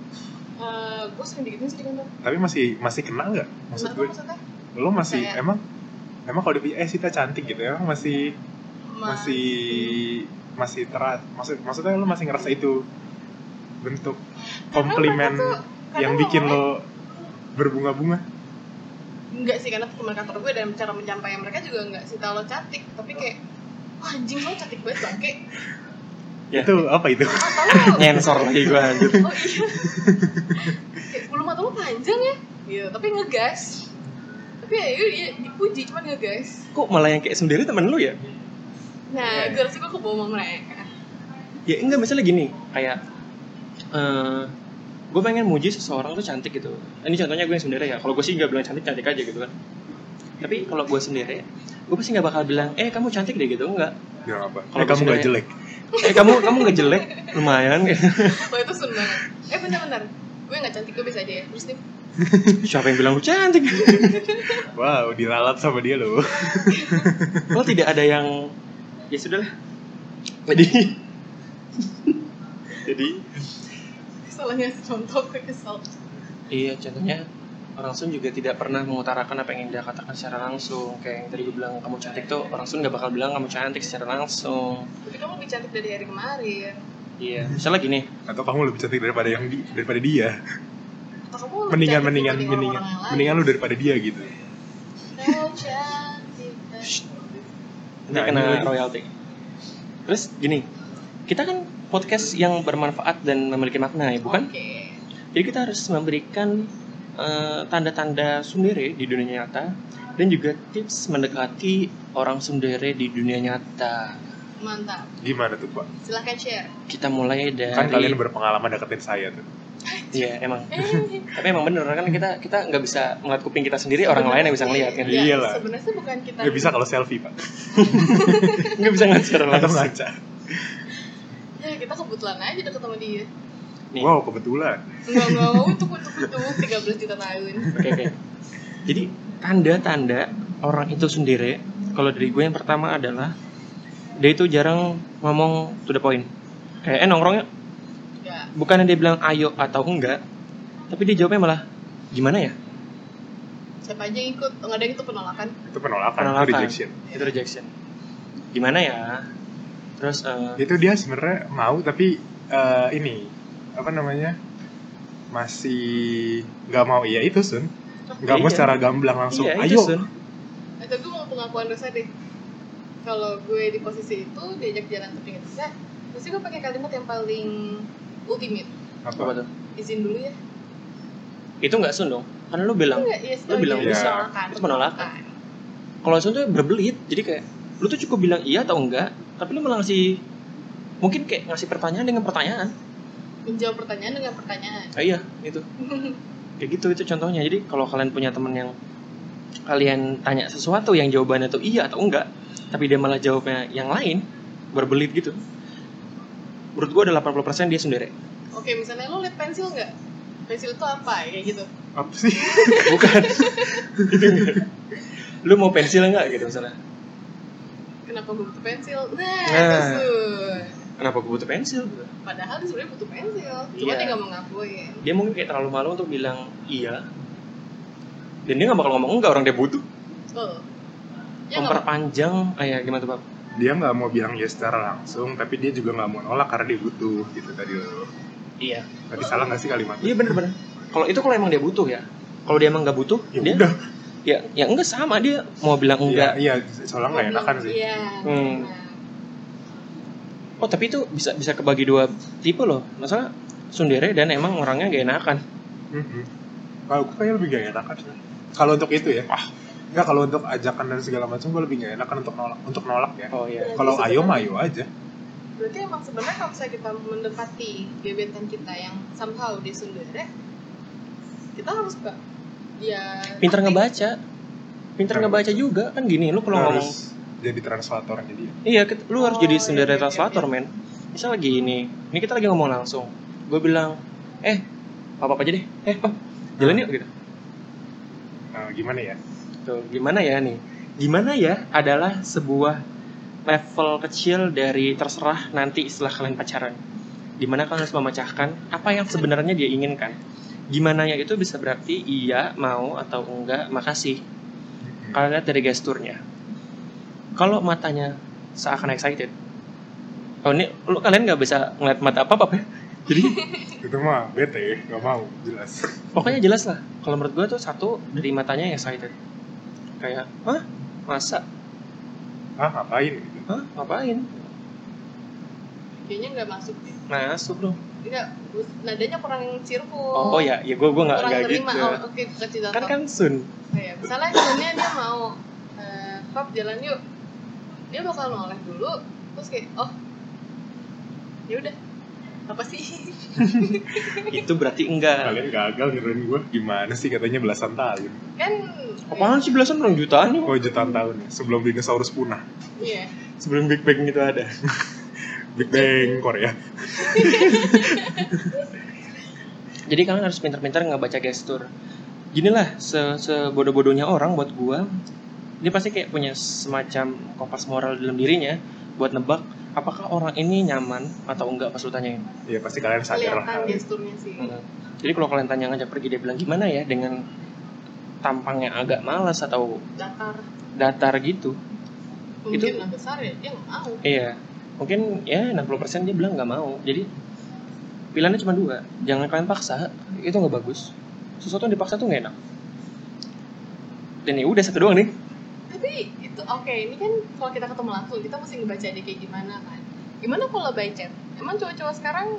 S1: eh, gue sering digituin sih di kantor
S2: tapi masih masih kena nggak maksud
S1: Kenapa
S2: gue
S1: maksudnya
S2: lo masih
S1: Kayak-
S2: emang emang kalau dipuji eh Sita cantik gitu emang masih
S1: Ma-
S2: masih masih teras maksud maksudnya lo masih ngerasa itu bentuk
S1: mereka
S2: komplimen
S1: tuh kadang
S2: yang bikin
S1: ngomongnya-
S2: lo berbunga-bunga
S1: Enggak sih karena teman kantor gue dan cara menyampaikan mereka juga enggak sih lo cantik tapi kayak wah anjing lo cantik banget bangke
S3: Ya.
S2: itu apa itu
S1: mata lo
S3: nyensor lagi gue anjir
S2: <laughs>
S1: oh iya kayak bulu mata lo panjang ya gitu tapi ngegas tapi ya iya, iya, dipuji cuman ngegas
S3: kok malah yang kayak sendiri temen lu ya
S1: nah
S2: Iya.
S1: gue rasa gue kebohongan mereka
S3: ya enggak misalnya gini kayak eh gue pengen muji seseorang tuh cantik gitu ini contohnya gue yang sendiri ya kalau gue sih nggak bilang cantik cantik aja gitu kan tapi kalau gue sendiri gue pasti nggak bakal bilang eh kamu cantik deh gitu enggak
S2: ya apa
S3: Kalau
S2: eh, kamu gak
S3: sebenarnya-
S2: jelek
S3: eh kamu kamu nggak jelek lumayan <laughs>
S1: wah itu sun banget eh bentar-bentar gue nggak cantik gue biasa aja ya terus nih
S3: siapa yang bilang lu cantik <laughs>
S2: wow diralat sama dia loh
S3: kalau tidak ada yang ya sudahlah jadi jadi
S1: salahnya contoh gue kesel
S3: iya contohnya orang Sun juga tidak pernah mengutarakan apa yang dia katakan secara langsung kayak yang tadi gue bilang kamu cantik tuh orang Sun nggak bakal bilang kamu cantik secara langsung
S1: tapi kamu lebih cantik dari hari kemarin
S3: Iya, misalnya gini,
S2: atau kamu lebih cantik daripada yang di- daripada dia
S1: atau kamu lebih
S2: mendingan
S1: cantik
S2: mendingan
S1: dibanding
S2: mendingan
S1: orang-orang lain.
S2: mendingan lu daripada dia gitu
S1: Kau cantik banget.
S3: nanti
S2: Nah,
S3: kena
S2: ini lagi.
S3: royalti. Terus gini, kita kan podcast yang bermanfaat dan memiliki makna ya, bukan?
S1: Oke.
S3: Jadi kita harus memberikan eh, tanda-tanda sundere di dunia nyata dan juga tips mendekati orang sundere di dunia nyata.
S1: Mantap.
S2: gimana tuh pak
S1: Silahkan share.
S3: Kita mulai dari
S2: kan kalian berpengalaman deketin saya tuh
S3: Iya, emang.
S1: Eh,
S3: Tapi emang bener kan kita kita nggak bisa ngeliat kuping kita sendiri, orang lain yang bisa ngeliat kan.
S1: Ya,
S2: Iya lah.
S1: Sebenarnya sih bukan kita.
S2: ya bisa kalau selfie pak
S3: Nggak bisa ngeliat secara
S2: atau
S3: langsung.
S2: ngaca
S1: Ya, kita kebetulan aja udah ketemu dia.
S3: Nih.
S2: wow kebetulan
S1: Enggak enggak untuk untuk untuk 13 juta tahun.
S3: Oke oke. Jadi tanda-tanda orang itu sendiri, kalau dari gue yang pertama adalah dia itu jarang ngomong to the point. Kayak eh nongkrong yuk.
S1: Ya.
S3: Bukannya dia bilang ayo atau enggak, tapi dia jawabnya malah gimana ya?
S1: siapa aja yang ikut nggak ada yang itu penolakan
S2: Itu penolakan,
S3: Penolakan.
S2: itu rejection.
S3: Itu rejection. Gimana ya? Terus eh,
S2: Itu dia sebenarnya mau tapi eh, ini apa namanya? masih nggak mau iya itu sun nggak mau
S3: Iya.
S2: secara gamblang langsung
S3: iya,
S2: ayo
S3: itu, Sun.
S1: atau gue Eh, mau pengakuan dosa deh kalau gue di posisi itu diajak jalan tapi nggak bisa pasti gue pakai kalimat yang paling ultimate
S2: apa
S3: Apa tuh?
S1: izin dulu ya
S3: Itu enggak sun dong. Karena lu bilang
S1: enggak ya
S3: Lu bilang
S2: bisa.
S1: penolakan
S3: Itu penolakan.
S1: Nah,
S3: kalau sun tuh berbelit. Jadi kayak lu tuh cukup bilang iya atau enggak, tapi lu malah ngasih mungkin kayak ngasih pertanyaan dengan pertanyaan.
S1: menjawab pertanyaan dengan pertanyaan
S3: Ah, iya, itu. Kayak gitu itu contohnya. Jadi kalau kalian punya temen yang kalian tanya sesuatu yang jawabannya tuh iya atau enggak, tapi dia malah jawabnya yang lain, berbelit gitu. Menurut gua ada 80% dia sendiri.
S1: oke misalnya lo liat pensil nggak pensil itu apa kayak gitu
S2: apa sih <laughs>
S3: Bukan. <laughs> lu mau pensil enggak gitu misalnya.
S1: kenapa gue butuh pensil nah,
S3: Nah.
S1: itu Sun.
S3: Kenapa gue butuh pensil?
S1: padahal dia sebenarnya butuh pensil cuma
S3: Iya.
S1: dia nggak mau ngakuin
S3: Dia mungkin kayak terlalu malu untuk bilang iya. Dan dia gak bakal ngomong enggak orang dia butuh.
S1: betul ya nggak
S3: Memperpanjang, ah ya gimana tuh Pak?
S2: dia nggak mau bilang ya secara langsung tapi dia juga nggak mau nolak karena dia butuh gitu tadi lo
S3: Iya.
S2: tadi salah nggak sih kalimatnya
S3: Iya bener-bener. Kalau itu kalau emang dia butuh ya. Kalau dia emang nggak butuh,
S2: ya
S3: dia
S2: udah
S3: ya ya enggak sama dia mau bilang enggak.
S2: iya iya, soalnya nggak enakan sih
S1: iya
S3: Hmm.
S1: nah.
S3: Oh tapi itu bisa bisa kebagi dua tipe loh. Masalah sundere dan emang orangnya gak enakan.
S2: Mhm. Kalau gue kayaknya lebih gak enakan sih. Kalau untuk itu ya. Ah. Enggak kalau untuk ajakan dan segala macam gue lebih gak enakan untuk nolak untuk nolak ya.
S3: Oh iya.
S2: Kalau
S1: Tapi
S2: ayo
S1: sebenarnya-
S2: mah ayo aja.
S1: Berarti emang sebenarnya kalau misalnya kita mendekati gebetan kita yang somehow dia sundere, kita harus ya, gak dia
S3: Pinter ngebaca. Pinter
S2: Harus.
S3: ngebaca juga kan gini. Lu kalau ngomong
S2: Harus jadi translatornya dia.
S3: iya ket- lu harus
S1: Oh,
S3: jadi
S1: iya,
S3: sundere
S1: iya, iya,
S3: translator men. Misal lagi ini, ini kita lagi ngomong langsung. Gue bilang, eh apa apa aja deh. Eh oh, jalan yuk gitu.
S2: Nah, gimana ya?
S3: Tuh, gimana ya nih? Gimana ya adalah sebuah level kecil dari terserah nanti setelah kalian pacaran. Dimana kalian harus memecahkan apa yang sebenarnya dia inginkan. Gimana ya itu bisa berarti iya, mau, atau enggak, makasih.
S2: Mhm.
S3: Kalian lihat dari gesturnya. Kalau matanya seakan excited. Oh ini, lu kalian nggak bisa ngeliat mata apa-apa ya? Jadi
S2: Itu mah bete ya, gak mau jelas.
S3: pokoknya jelas lah kalau menurut gue tuh satu dari matanya yang excited kayak hah masa
S2: Ah, ngapain gitu.
S3: hah ngapain
S1: kayaknya nggak masuk deh.
S3: nah bro
S1: Enggak, nadanya kurang cheerful.
S3: oh, oh ya ya gue gue nggak
S1: kurang
S3: nggak gitu
S1: terima. Oh, oke, kasih contoh.
S3: kan kan sun
S1: Kayak ya. misalnya misalnya dia mau eh, pap jalan yuk. Dia bakal noleh dulu, terus kayak oh. Ya udah. Apa sih? <laughs>
S3: itu berarti enggak
S2: Kalian gagal ngeruin gue. Gimana sih katanya belasan tahun.
S1: kan
S3: apaan sih belasan orang jutaan yuk
S2: Oh, jutaan tahun ya. Sebelum dinosaurus punah.
S1: Iya.
S3: sebelum big bang itu ada
S2: Big Bang Korea.
S3: jadi kalian harus pintar-pintar ngebaca gestur ginilah se sebodoh-bodohnya orang buat gua dia pasti kayak punya semacam kompas moral dalam dirinya buat nebak apakah orang ini nyaman atau enggak pas lu tanyain
S2: Ya pasti kalian sadar lah.
S1: Kelihatan gesturnya sih.
S3: Hmm. Jadi kalau kalian tanya ngajak pergi dia bilang gimana ya dengan tampangnya agak malas atau
S1: Datar.
S3: datar gitu.
S1: Mungkin yang besar ya, dia nggak mau.
S3: Iya. Mungkin ya 60% dia bilang nggak mau. Jadi pilihannya cuma dua. Jangan kalian paksa, itu nggak bagus. Sesuatu yang dipaksa tuh nggak enak. Dan ya udah satu doang nih.
S1: tapi itu oke ini kan kalau kita ketemu langsung kita mesti ngebaca dia kayak gimana kan gimana kalau by chat emang cowok-cowok sekarang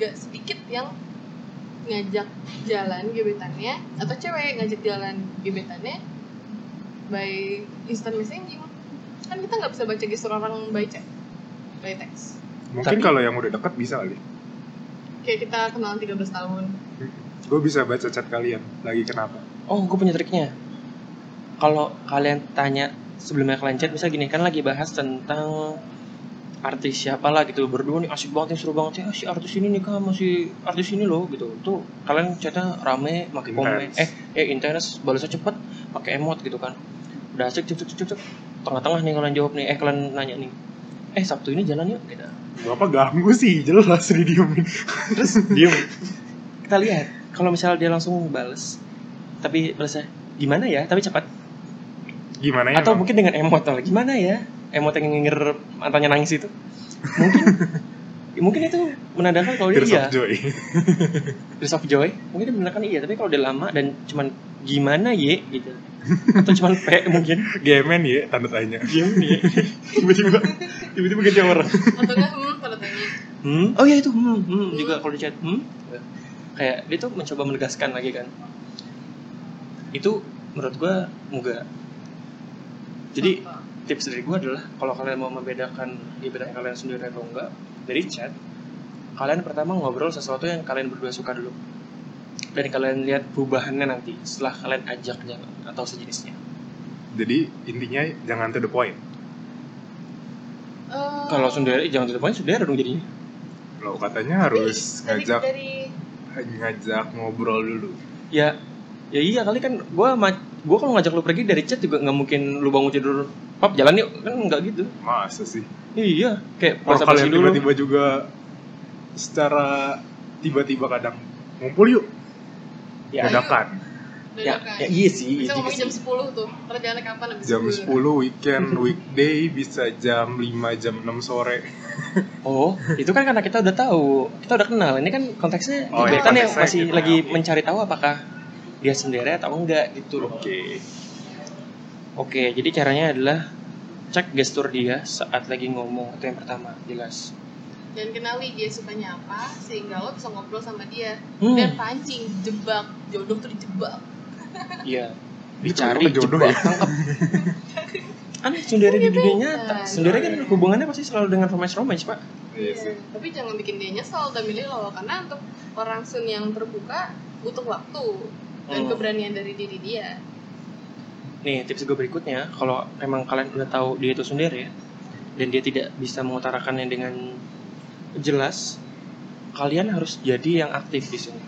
S1: gak sedikit yang ngajak jalan gebetannya atau cewek ngajak jalan gebetannya by instant messaging kan kita nggak bisa baca gestur orang by chat by text
S2: Mungkin
S3: Tapi-
S2: kalau yang udah deket bisa kali.
S1: kayak kita kenalan 13 tahun
S2: Gue bisa baca chat kalian lagi kenapa.
S3: Oh, gue punya triknya. Kalau kalian tanya sebelumnya kalian chat, bisa gini kan lagi bahas tentang artis siapa lah gitu berdua nih asik banget nih seru banget ya "Ah, si artis ini nikah masih artis ini loh gitu tuh kalian chatnya rame pakai komen
S2: Intense.
S3: eh eh intens balasnya cepet pakai emot gitu kan udah asik cuk cuk cuk cuk, cuk tengah-tengah nih kalian jawab nih eh kalian nanya nih eh Sabtu ini jalan yuk gitu.
S2: Bapak ganggu sih, jelas didiemin.
S3: Terus diem. Kita lihat kalau misalnya dia langsung bales tapi balasnya gimana ya tapi cepat
S2: Gimana ya?
S3: atau
S2: Bang?
S3: mungkin dengan emot lah gimana ya emot yang nginger mantannya nangis itu mungkin mungkin itu menandakan kalau dia
S2: Tears
S3: iya
S2: of Joy. <laughs>
S3: Tears of Joy mungkin dia menandakan iya tapi kalau dia lama dan cuman gimana ye gitu atau cuman p mungkin
S2: Gemen ya, tanda tanya.
S3: diem ye tiba-tiba tiba-tiba ganti orang
S1: atau enggak hmm tanda tanya
S3: hmm oh ya itu hmm, hmm. juga kalau di chat hmm kayak dia tuh mencoba menegaskan lagi kan itu menurut gua moga jadi
S1: Apa?
S3: tips dari gue adalah kalau kalian mau membedakan gebetan kalian sendiri atau enggak dari chat kalian pertama ngobrol sesuatu yang kalian berdua suka dulu dan kalian lihat perubahannya nanti setelah kalian ajak jalan atau sejenisnya
S2: Jadi intinya jangan to the point.
S1: Eh,
S3: kalau sendiri jangan tetap sendiri dong jadinya
S2: Lo katanya harus
S1: dari,
S2: ngajak
S1: Eh, dari
S2: ngajak ngobrol dulu.
S3: ya ya iya kali kan gue gue kalau ngajak lu pergi dari chat juga nggak mungkin lu bangun tidur pap jalan yuk kan nggak gitu
S2: Masa sih?
S3: iya kayak
S2: Kalau
S3: basa-basi
S2: kalian
S3: dulu
S2: tiba-tiba juga secara tiba-tiba kadang ngumpul yuk,
S3: ya,
S1: Kadang-
S2: dadakan.
S3: ya,
S1: dadakan.
S3: ya, iya sih iya
S1: bisa
S3: juga
S1: ngomongin jam
S3: sih.
S1: 10 tuh terus jalannya kapan abis
S2: Jam 10 weekend, weekday bisa jam 5, jam 6 sore.
S3: Oh, itu kan karena kita udah tahu, kita udah kenal. Ini kan konteksnya
S2: Oh,
S3: gebetan
S2: iya,
S3: yang
S2: konteksnya
S3: masih
S2: gitu.
S3: lagi
S2: Oke.
S3: mencari tahu apakah dia sendiri atau enggak
S2: Oke.
S3: gitu loh. Oke, jadi caranya adalah cek gestur dia saat lagi ngomong itu yang pertama, jelas.
S1: dan kenali dia sukanya apa sehingga lo bisa ngobrol sama dia
S3: Hmm,
S1: dan kan pancing jebak jodoh tuh dijebak
S3: iya.
S2: Ini
S3: Dicari
S2: kenapa jodoh
S3: jodoh
S2: ya?
S3: tangkap. Aneh sendiri
S1: Iya,
S3: di dunia nyata.
S1: Gebetan.
S3: Sendiri kan hubungannya pasti selalu dengan romance-romance, Pak.
S2: Iya sih.
S1: tapi jangan bikin dia nyesel dan milih lo karena untuk orang sun yang terbuka butuh waktu dan
S3: Hmm.
S1: keberanian dari diri dia
S3: Nih, tips gue berikutnya, kalau emang kalian udah tahu dia itu sendiri dan dia tidak bisa mengutarakannya dengan jelas, kalian harus jadi yang aktif di sini.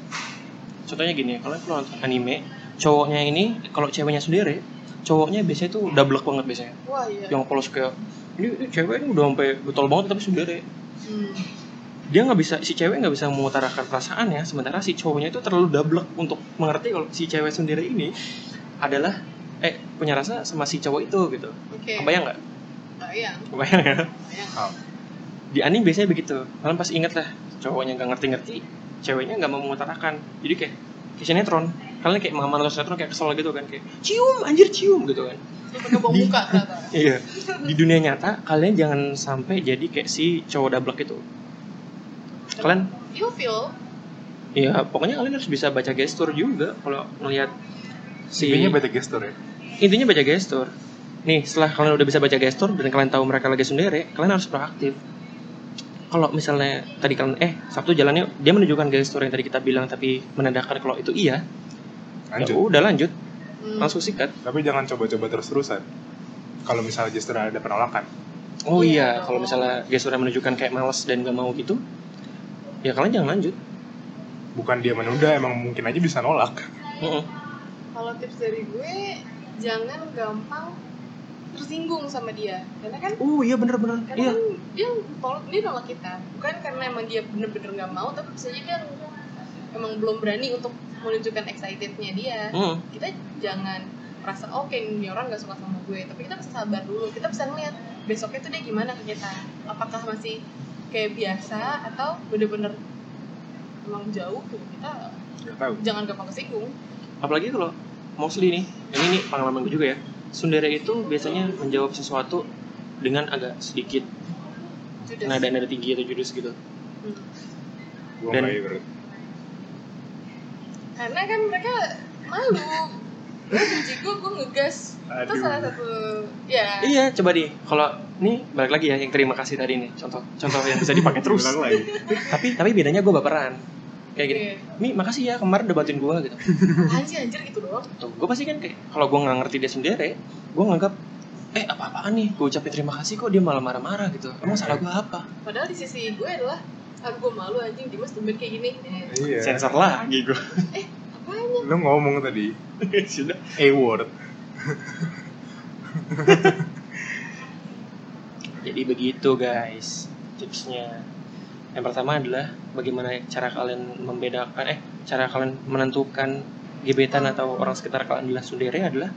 S3: Contohnya gini, kalian kalau nonton anime, cowoknya ini kalau ceweknya sendiri, cowoknya biasanya tuh double banget biasanya.
S1: wah iya
S3: Yang polos kayak ini, ini cewek ini udah sampai betul banget tapi sendiri.
S1: Hmm.
S3: Dia nggak bisa si cewek nggak bisa mengutarakan perasaannya, sementara si cowoknya itu terlalu double untuk mengerti kalau si cewek sendiri ini adalah eh punya rasa sama si cowok itu gitu.
S1: oke Ah, iya.
S3: Kebayang nggak?
S1: Kebayang,
S3: Kebayang ya?
S1: kebayang.
S3: Di anime biasanya begitu. Kalian pasti inget lah, cowoknya nggak ngerti-ngerti, ceweknya nggak mau mengutarakan. Jadi kayak kayak sinetron, kalian kayak mengaman nonton sinetron kayak kesel gitu kan, kayak cium anjir cium gitu kan.
S1: dia pakai bau muka ternyata
S3: Iya. Di dunia nyata kalian jangan sampai jadi kayak si cowok dablek itu. Kalian,
S1: you feel
S3: ya pokoknya kalian harus bisa baca gestur juga kalau melihat si
S2: Intinya bete gestur ya.
S3: intinya baca gestur. Nih, setelah kalian udah bisa baca gestur dan kalian tahu mereka lagi sendiri, kalian harus proaktif. Kalau misalnya tadi kalian eh Sabtu jalan yuk, dia menunjukkan gestur yang tadi kita bilang tapi menandakan kalau itu iya, ya
S2: Lanjut.
S3: udah lanjut,
S1: Hmm.
S3: langsung sikat.
S2: Tapi jangan coba-coba terus-terusan. Kalau misalnya gestur ada penolakan.
S3: Oh
S1: Iya
S3: iya, kalau
S1: dong.
S3: misalnya gestur yang menunjukkan kayak males dan gak mau gitu, ya kalian jangan lanjut.
S2: Bukan dia menunda, emang mungkin aja bisa nolak.
S3: Mm-mm.
S1: kalau tips dari gue jangan gampang tersinggung sama dia karena kan
S3: Oh iya bener-bener,
S1: karena
S3: iya.
S1: kan dia tolak dia nolak kita bukan karena emang dia bener-bener nggak mau tapi bisa jadi dia emang belum berani untuk menunjukkan excitednya dia
S3: Mm.
S1: kita jangan merasa oke ini orang nggak suka sama gue tapi kita bisa sabar dulu kita bisa ngeliat besoknya tuh dia gimana ke kita apakah masih kayak biasa atau bener-bener emang jauh tuh kita
S2: Gak tahu.
S1: jangan gampang kesinggung
S3: apalagi kalau mostly nih ini nih pengalaman gue juga ya sundere itu biasanya menjawab sesuatu dengan agak sedikit
S1: Judas.
S3: nada nada tinggi atau jurus gitu
S1: Hmm.
S2: Gua
S3: Dan-
S2: nggak ya, bro.
S1: karena kan mereka malu gue benci gue gue ngegas itu
S2: Aduh.
S1: salah satu ya
S3: iya coba deh kalau nih balik lagi ya yang terima kasih tadi nih contoh contoh yang bisa dipakai terus
S2: Ulang lagi.
S3: <laughs> tapi tapi bedanya gue baperan kayak gini
S1: Iya.
S3: mi makasih ya kemarin udah bantuin gue gitu
S1: Apaan sih anjir gitu doang
S3: tuh gue pasti kan kayak kalau gue nggak ngerti dia sendiri gue nganggap eh apa apaan nih gue ucapin terima kasih kok dia malah marah-marah gitu emang salah gue apa
S1: padahal di sisi gue adalah ah gue malu anjing Dimas tumben kayak gini eh,
S2: Iya.
S3: sensor lagi gue
S1: apanya
S2: Lu ngomong tadi
S3: sudah
S2: A word.
S3: Jadi begitu guys tipsnya. Yang pertama adalah bagaimana cara kalian membedakan eh cara kalian menentukan gebetan atau orang sekitar kalian adalah saudara adalah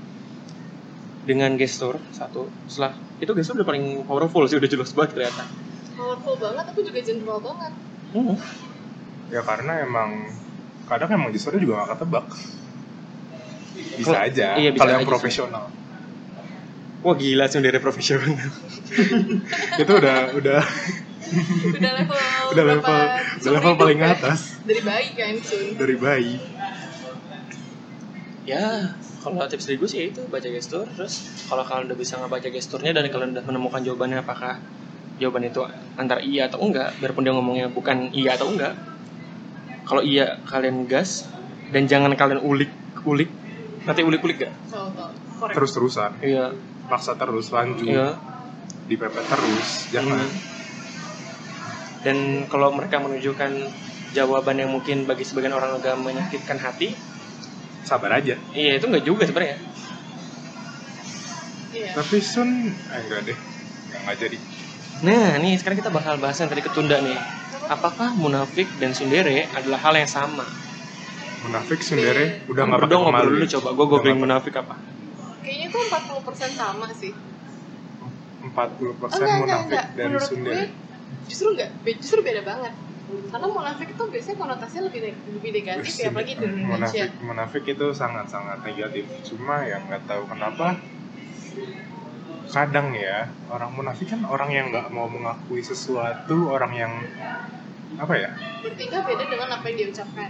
S3: dengan gestur satu setelah itu gestur udah paling powerful sih udah jelas banget kelihatan.
S1: powerful banget tapi juga general
S2: <laughs>
S1: banget
S3: Hmm.
S2: ya karena emang kadang emang gesturnya juga gak ketebak bisa
S3: Kalau-
S2: aja
S3: iya, bisa
S2: kalau yang
S3: aja sih.
S2: profesional
S3: Wah gila saudara profesional.
S2: itu udah udah
S1: udah level
S2: udah
S1: berapa
S2: level udah
S1: seumur
S2: level
S1: hidup
S2: paling
S1: ya?
S2: atas
S1: dari bayi kan Sun
S2: dari bayi
S3: ya kalau tips dari gue sih ya itu baca gestur terus kalau kalian udah bisa ngebaca gesturnya dan kalian udah menemukan jawabannya apakah jawaban itu antara iya atau enggak biarpun dia ngomongnya bukan iya atau enggak kalau iya kalian gas dan jangan kalian ulik ulik nanti ulik ulik gak
S1: tahu tahu korek
S2: terus terusan
S3: iya
S2: maksa terus lanjut
S3: iya
S2: dipepet terus jangan
S3: Hmm. dan kalau mereka menunjukkan jawaban yang mungkin bagi sebagian orang agak menyakitkan hati
S2: sabar aja
S3: iya itu enggak juga sebenarnya
S1: iya
S2: tapi Sun eh, enggak deh enggak, enggak jadi
S3: Nah, nih sekarang kita bakal bahas yang tadi ketunda nih. Apakah munafik dan sundere adalah hal yang sama? Kan
S2: munafik sundere
S1: Iya.
S2: udah nggak pakai
S3: Berdua ngobrol
S2: pemalu
S3: dulu
S2: ya?
S1: Oh,
S3: coba. Gue
S2: Udah
S3: googling
S2: nggak
S3: munafik apa?
S1: kayaknya tuh 40% sama sih Oh,
S2: 40% munafik dari
S1: menurut
S2: sundere
S1: gue justru enggak be- justru beda banget karena munafik itu biasanya konotasinya lebih neg- lebih negatif ya apalagi
S2: hmm,
S1: di Indonesia
S2: munafik munafik itu sangat sangat negatif cuma ya nggak tahu kenapa kadang ya orang munafik kan orang yang nggak mau mengakui sesuatu orang yang apa ya
S1: bertingkah beda dengan apa yang diucapkan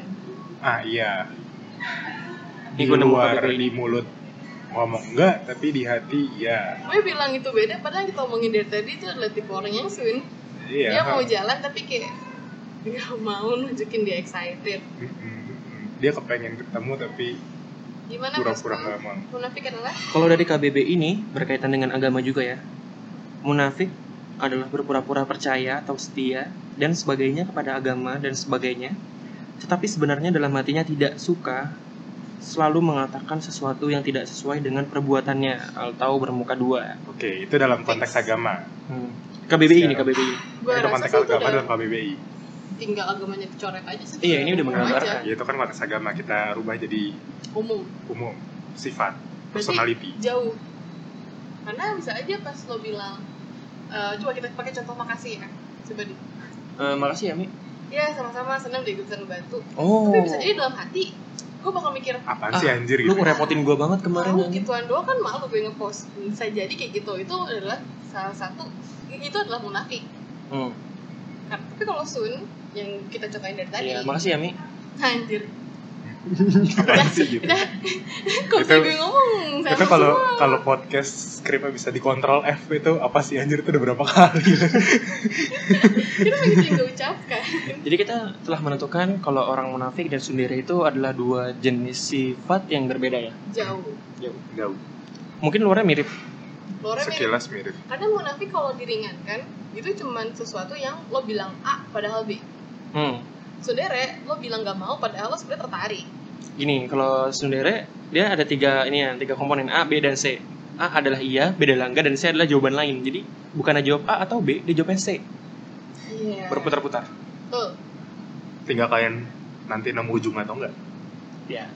S2: ah iya
S3: Ini
S2: di
S3: gua nemu
S2: luar
S3: kategori ini.
S2: di mulut ngomong enggak tapi di hati iya
S1: gue bilang itu beda padahal yang kita omongin dari tadi itu adalah tipe orang yang sun
S2: iya
S1: dia mau jalan tapi kayak nggak mau nunjukin dia excited
S2: Mm-mm. dia kepengen ketemu tapi
S1: gimana
S2: pura-pura
S1: bosku?
S2: nggak mau
S1: munafik adalah
S3: Kalau dari KBB ini berkaitan dengan agama juga ya. Munafik adalah berpura-pura percaya atau setia dan sebagainya kepada agama dan sebagainya. Tetapi sebenarnya dalam hatinya tidak suka selalu mengatakan sesuatu yang tidak sesuai dengan perbuatannya atau bermuka dua.
S2: oke itu dalam konteks agama
S3: Hmm. KBBI ini
S2: Siap.
S3: KBBI.
S1: gue
S2: itu
S1: rasa
S2: konteks
S1: sih itu
S2: agama
S1: udah
S2: dalam KBBI
S1: tinggal agamanya dicoret aja sih
S3: Iya, ini udah
S1: Umum
S3: menggambarkan.
S1: aja.
S2: ya itu kan konteks agama kita rubah jadi
S1: umum
S2: umum sifat
S1: Berarti
S2: personality
S1: jauh karena bisa aja pas lo bilang eh, coba kita pakai contoh makasih ya coba di
S3: Eh, makasih ya Mi.
S1: ya sama-sama senang deh gue bisa ngebantu
S3: Oh.
S1: tapi bisa jadi dalam hati gue bakal mikir
S2: apaan
S3: Ah,
S2: sih anjir
S3: lu
S2: gitu
S3: ngerepotin gue banget kemarin
S1: mau
S3: anjing.
S1: gituan doang kan malu gue ngepost bisa jadi kayak gitu itu adalah salah satu itu adalah munafik
S3: Hmm.
S1: Kan- tapi kalau sun yang kita cobain dari tadi
S3: Iya, makasih ya Mi.
S1: anjir
S2: apaan sih gitu
S1: udah kok
S2: Itu-
S1: gue ngomong sama
S2: itu kalau
S1: semua.
S2: kalau podcast skripnya bisa dikontrol F itu apa sih anjir itu udah berapa kali
S1: itu begitu yang gue ucapkan
S3: Jadi kita telah menentukan kalau orang munafik dan sundere itu adalah dua jenis sifat yang berbeda ya.
S1: jauh
S2: jauh
S3: Mungkin luarnya mirip.
S1: Lore mirip
S2: sekilas mirip
S1: kadang munafik kalau diringankan itu cuman sesuatu yang lo bilang A padahal B
S3: Hmm.
S1: saudara lo bilang gak mau padahal lo sebenarnya tertarik
S3: Gini, kalau sundere dia ada tiga ini ya, tiga komponen A, B dan C. A adalah iya, B adalah enggak dan C adalah jawaban lain. Jadi bukannya jawab A atau B, dia jawabnya C.
S1: iya
S3: Berputar-putar.
S1: tuh
S2: tinggal kalian nanti nemu ujung atau enggak
S3: Ya.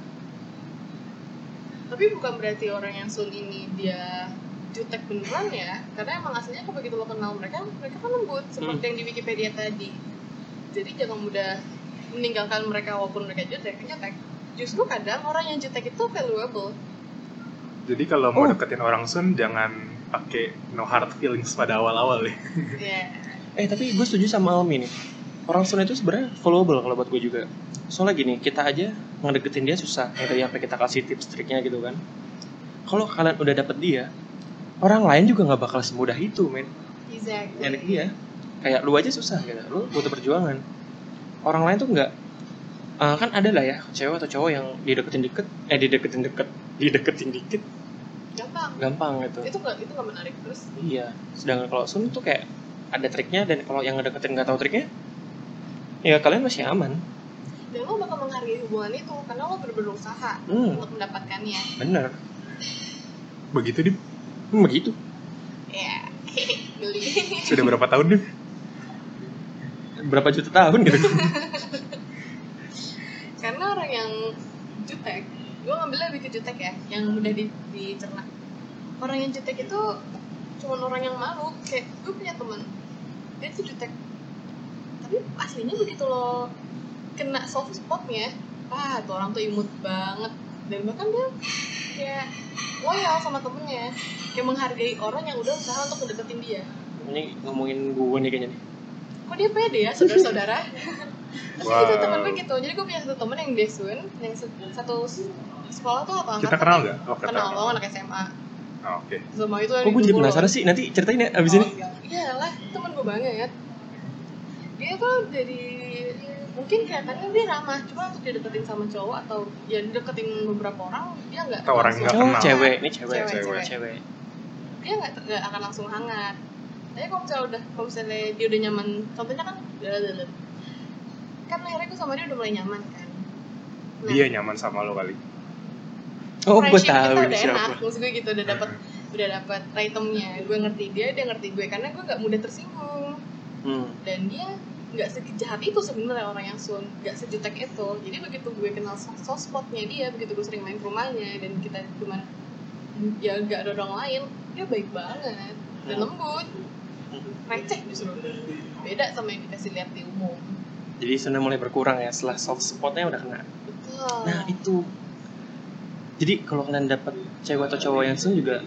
S1: tapi bukan berarti orang yang sun ini dia jutek beneran ya karena emang aslinya kalau begitu lo kenal mereka mereka kan lembut seperti yang di Wikipedia tadi jadi jangan mudah meninggalkan mereka walaupun mereka jutek jutek justru kadang orang yang jutek itu valuable
S2: jadi kalau mau
S3: Oh.
S2: deketin orang sun jangan pakai no hard feelings pada awal-awal ya
S1: ya
S3: Eh tapi gue setuju sama Almi nih. Orang Sunda itu sebenarnya followable kalau buat gue juga. Soalnya gini, kita aja ngedeketin dia susah. Itu yang kita kasih tips triknya gitu kan. Kalau kalian udah dapet dia, orang lain juga nggak bakal semudah itu, men.
S1: exactly
S3: Nyari dia. Kayak lu aja susah gitu. Lu butuh perjuangan. Orang lain tuh nggak eh, kan ada lah ya cewek atau cowok yang dideketin deket eh dideketin deket dideketin dikit
S1: gampang
S3: gampang gitu
S1: itu nggak itu nggak menarik terus
S3: Iya. Sedangkan kalau Sun tuh kayak ada triknya dan kalau yang ngedeketin nggak tahu triknya, ya kalian masih aman.
S1: dan lo bakal menghargai hubungan itu karena lo bener-bener usaha
S3: Hmm,
S1: untuk mendapatkannya
S3: bener.
S2: begitu di
S3: Hmm, begitu.
S1: ya <laughs> peduli
S2: Sudah berapa tahun nih?
S3: berapa juta tahun gitu
S1: karena orang yang jutek gue ngambilnya lebih ke jutek ya yang mudah di, dicerna orang yang jutek itu cuman orang yang malu kayak gue punya temen dia tuh jutek tapi aslinya begitu lo kena soft spotnya ah tuh orang tuh imut banget dan bahkan dia kayak loyal sama temennya kayak menghargai orang yang udah usaha untuk mendeketin dia
S3: <laughs> ini ngomongin gue nih kayaknya nih
S1: kok dia pede ya saudara-saudara tapi
S2: Wow.
S1: itu temen gue gitu jadi gue punya satu temen yang Desun yang se- satu s- sekolah tuh apa
S2: Kita kenal nggak? Oh,
S1: kenal lo anak SMA
S2: Oh, Oke.
S1: sama itu
S3: kok gue jadi penasaran sih nanti ceritain ya abis ini
S1: iya lah temen gue banget dia tuh dari mungkin kelihatannya dia ramah cuma untuk dideketin sama cowok atau ya dideketin beberapa orang dia nggak
S2: Atau orang
S1: langsung-
S2: nggak
S3: cowok
S2: kenal.
S3: Oh, cewek ini cewek
S1: Cewek,
S3: cewek
S1: cewek.
S3: cewek
S1: dia nggak nggak akan langsung hangat tapi kalau misalnya udah kalau misalnya dia udah nyaman contohnya kan kan akhirnya gue sama dia udah mulai nyaman kan Nah,
S2: Dia nyaman sama lo kali.
S3: oh gue
S1: friendship kita
S3: tahu ini
S1: udah enak
S3: siapa
S1: maksud gue gitu udah dapet udah dapet ritemnya gue ngerti dia dia ngerti gue karena gue nggak mudah tersinggung
S3: hmm.
S1: dan dia nggak sejahat itu sebenarnya orang yang sun nggak sejutek itu jadi begitu gue kenal soft, soft spotnya dia begitu gue sering main ke rumahnya dan kita cuman ya nggak ada orang lain dia baik banget dan
S3: Hmm.
S1: lembut receh justru beda sama yang dikasih lihat di umum
S3: Nah, jadi sudah mulai berkurang ya setelah soft spotnya udah
S1: Oh.
S3: kena
S1: betul
S3: nah itu jadi kalau kalian dapat cewek atau cowok yang sun juga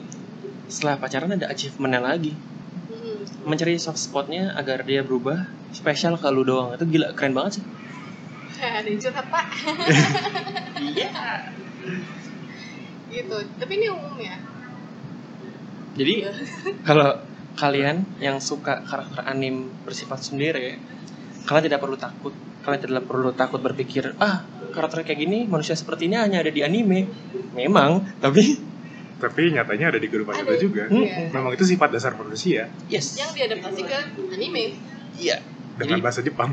S3: setelah pacaran ada achievementnya lagi
S1: Mm-mm.
S3: mencari soft spotnya agar dia berubah spesial ke lu doang itu gila keren banget sih
S1: ada yang curhat pak
S3: iya
S1: gitu tapi ini umum ya
S3: jadi <laughs> kalau kalian yang suka karakter anim bersifat sendiri kalian tidak perlu takut kalian tidak perlu takut berpikir ah karakter kayak gini manusia sepertinya hanya ada di anime memang tapi <laughs>
S2: Tapi nyatanya ada di grup
S1: Ada.
S2: kita juga.
S3: Hmm.
S1: Iya.
S2: Memang itu sifat dasar manusia ya,
S3: yes
S1: yang diadaptasi ke anime
S3: iya
S2: dengan
S3: Jadi-
S2: bahasa Jepang.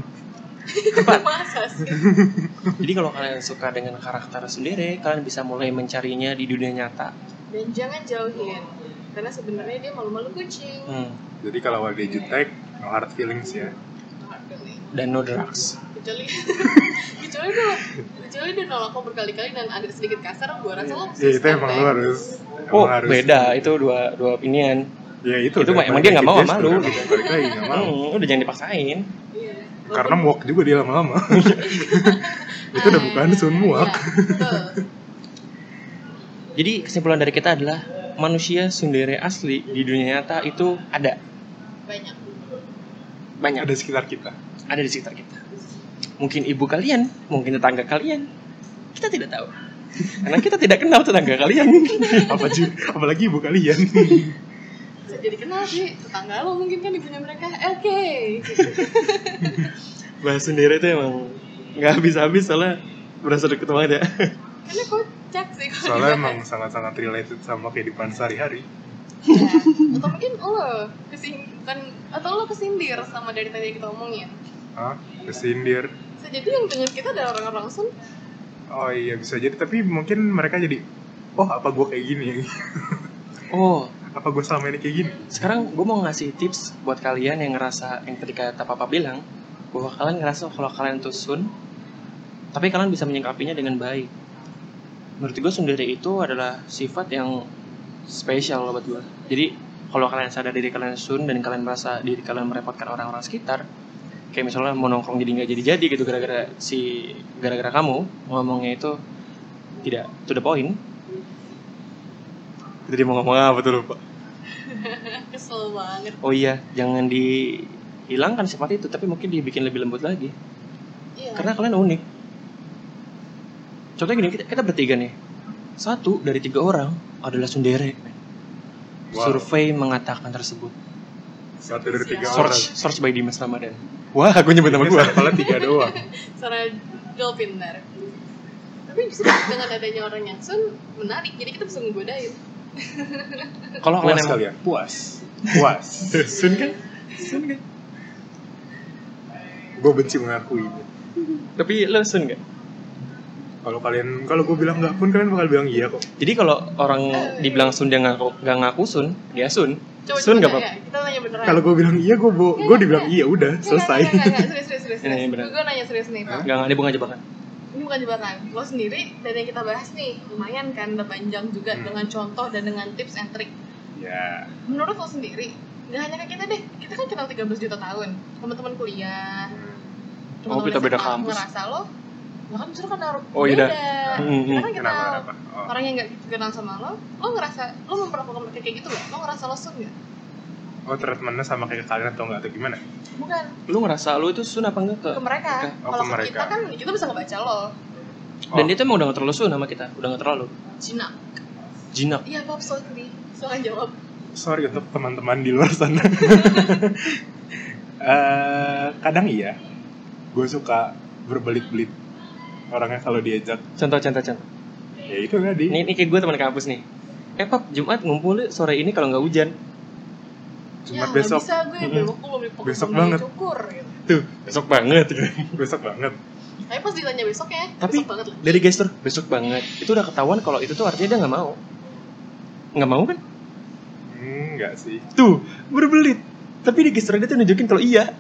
S1: <laughs> masa sih
S3: jadi kalau kalian suka dengan karakter sendiri kalian bisa mulai mencarinya di dunia nyata
S1: dan jangan jauhin karena sebenarnya dia malu-malu kucing
S3: hmm.
S2: Jadi kalau ada jutek, no hard feelings ya.
S3: dan no drugs
S1: Nah, gitu kecuali <laughs> kecuali dia kecuali dia nolak lo berkali-kali dan agak sedikit kasar gua rasa lo mesti
S2: Ya itu
S1: stand
S2: emang
S1: back.
S2: lo harus. emang
S3: oh
S2: harus-
S3: beda itu dua dua opinian
S2: Ya itu.
S3: Itu
S2: udah balik
S3: emang dia nggak
S2: lagi
S3: mau
S2: gesture,
S3: sama lu,
S2: udah
S3: gitu.
S2: Balik lagi nggak
S3: <laughs>
S2: mau.
S3: Hmm, udah jangan dipaksain
S1: Iya.
S2: Karena muak juga dia lama-lama. <laughs> itu
S1: Nah,
S2: udah bukan sun muak.
S1: iya,
S3: Jadi kesimpulan dari kita adalah manusia sundere asli di dunia nyata itu ada
S1: banyak
S3: banyak
S2: Ada sekitar kita.
S3: ada di sekitar kita. Mungkin ibu kalian, mungkin tetangga kalian, kita tidak tahu. <laughs> Karena kita tidak kenal tetangga kalian.
S2: Apa sih? Apalagi ibu kalian.
S1: bisa jadi kenal sih tetangga lo mungkin kan ibunya mereka oke
S3: Bahas sundere itu emang nggak habis-habis soalnya berasa deket banget ya.
S1: karena kocak sih kalau
S2: Soalnya
S1: dibahas.
S2: emang sangat-sangat related sama kehidupan sehari-hari.
S3: Iya.
S1: Ya. <laughs> atau mungkin lo kesing bukan atau lo kesindir sama dari tadi yang kita omongin
S2: Hah? Kesindir.
S1: bisa jadi yang dengar kita adalah orang-orang sun
S2: Oh iya bisa jadi. Tapi mungkin mereka jadi, oh apa gue kayak gini? <laughs>
S3: Oh,
S2: apa gue selama ini kayak gini?
S3: sekarang gue mau ngasih tips buat kalian yang ngerasa yang tadi kata papa bilang bahwa kalian ngerasa kalau kalian tuh sun tapi kalian bisa menyingkapinya dengan baik menurut gue sendiri itu adalah sifat yang spesial loh buat gue jadi kalau kalian sadar diri kalian sun dan kalian merasa diri kalian merepotkan orang-orang sekitar kayak misalnya mau nongkrong jadi nggak jadi-jadi gitu gara-gara si gara-gara kamu ngomongnya itu tidak to the point jadi mau ngomong apa tuh lupa
S1: kesel banget
S3: Oh iya, jangan dihilangkan sifat itu, tapi mungkin dibikin lebih lembut lagi.
S1: iya
S3: Karena kalian unik. Contohnya gini, kita, kita bertiga nih. Satu dari tiga orang adalah sundere. men.
S2: Wow.
S3: Survei mengatakan tersebut.
S2: Satu dari tiga
S1: Siap.
S2: orang.
S3: Search, search by Dimas Ramadan. Wah, aku nyebut nama
S2: Ini
S3: gua.
S2: sampelnya tiga
S3: <laughs>
S2: doang.
S1: secara dolphin ntar tapi justru dengan adanya orang yang sun menarik jadi kita bisa ngegodain
S3: Kalau
S2: Puas
S3: kalian emang
S2: kalian?
S3: puas. ya.
S2: Puas.
S3: <laughs> Sun kan?
S2: gue benci mengakui.
S3: Tapi lo sun gak?
S2: Kalau kalian, kalau gue bilang nggak pun kalian bakal bilang iya kok.
S3: Jadi kalau orang dibilang Sun dia ngaku, gak ngaku Sun, dia Sun.
S1: Coba
S3: Sun
S1: kita
S3: gak
S1: nanya,
S3: apa-apa.
S1: Kita nanya beneran.
S2: Kalau gue bilang iya, gue bo- gue dibilang iya
S1: Nggak,
S2: udah
S1: nggak,
S2: selesai.
S1: nggak, nggak, nggak, serius, serius, serius.
S3: <laughs> Ini
S1: serius.
S3: beneran.
S1: Gue nanya serius nih, Pak.
S3: Gak, gak, dia bukan jebakan.
S1: Ini bukan jebakan. Lo sendiri dan yang kita bahas nih lumayan kan udah panjang juga
S2: Hmm.
S1: dengan contoh dan dengan tips and trick.
S2: <laughs> Ya,
S1: Menurut lo sendiri, nggak hanya ke kita deh. Kita kan kenal 13 juta tahun. Teman-teman kuliah.
S3: Oh,
S1: teman-teman
S3: kita beda
S1: SMA,
S3: kampus.
S1: Ngerasa lo, lo kan justru karena
S3: Oh, iya
S1: beda.
S3: dah. Hmm,
S1: Kita
S3: hmm.
S1: kan
S2: kenapa
S1: kenal
S2: kenapa? Oh.
S1: orang yang nggak kenal sama lo, lo ngerasa lo memperlakukan mereka kayak gitu nggak? Lo ngerasa lo sun nggak?
S2: Oh, treatmentnya sama kayak kalian atau nggak atau gimana?
S1: Bukan
S3: Lu ngerasa lu itu Sun apa enggak ke?
S1: ke mereka.
S3: Ke-
S2: oh,
S1: Kalau
S2: ke
S1: ke
S2: mereka.
S1: kita kan kita bisa ngebaca lo,
S3: Dan dia tuh emang udah gak terlalu Sun sama kita. Udah gak terlalu.
S1: Cina.
S3: Jinak.
S1: Iya Bob, sorry. Silahkan jawab.
S2: sorry untuk teman-teman di luar sana.
S3: <laughs>
S2: Eh, kadang iya, gue suka berbelit-belit orangnya kalau diajak.
S3: Contoh, contoh, contoh.
S2: Ya itu tadi.
S3: Ini, ini kayak gue teman kampus nih. Eh Pap, Jumat ngumpul yuk sore ini kalau nggak hujan.
S1: ya nggak
S2: Jumat besok,
S1: bisa gue
S3: Mm-mm.
S1: belok belum dipukul
S2: Besok
S1: belum
S2: banget.
S1: dicukur, gitu.
S3: Besok banget. <laughs>
S2: besok banget.
S1: Tapi pas ditanya besok ya,
S3: Tapi-
S1: besok banget lah.
S3: Dari gestur, besok banget. Itu udah ketahuan kalau itu tuh artinya dia nggak mau. Nggak mau kan?
S2: Hmm, Enggak sih.
S3: Tuh, berbelit. Tapi di gestur dia tuh nunjukin kalau iya.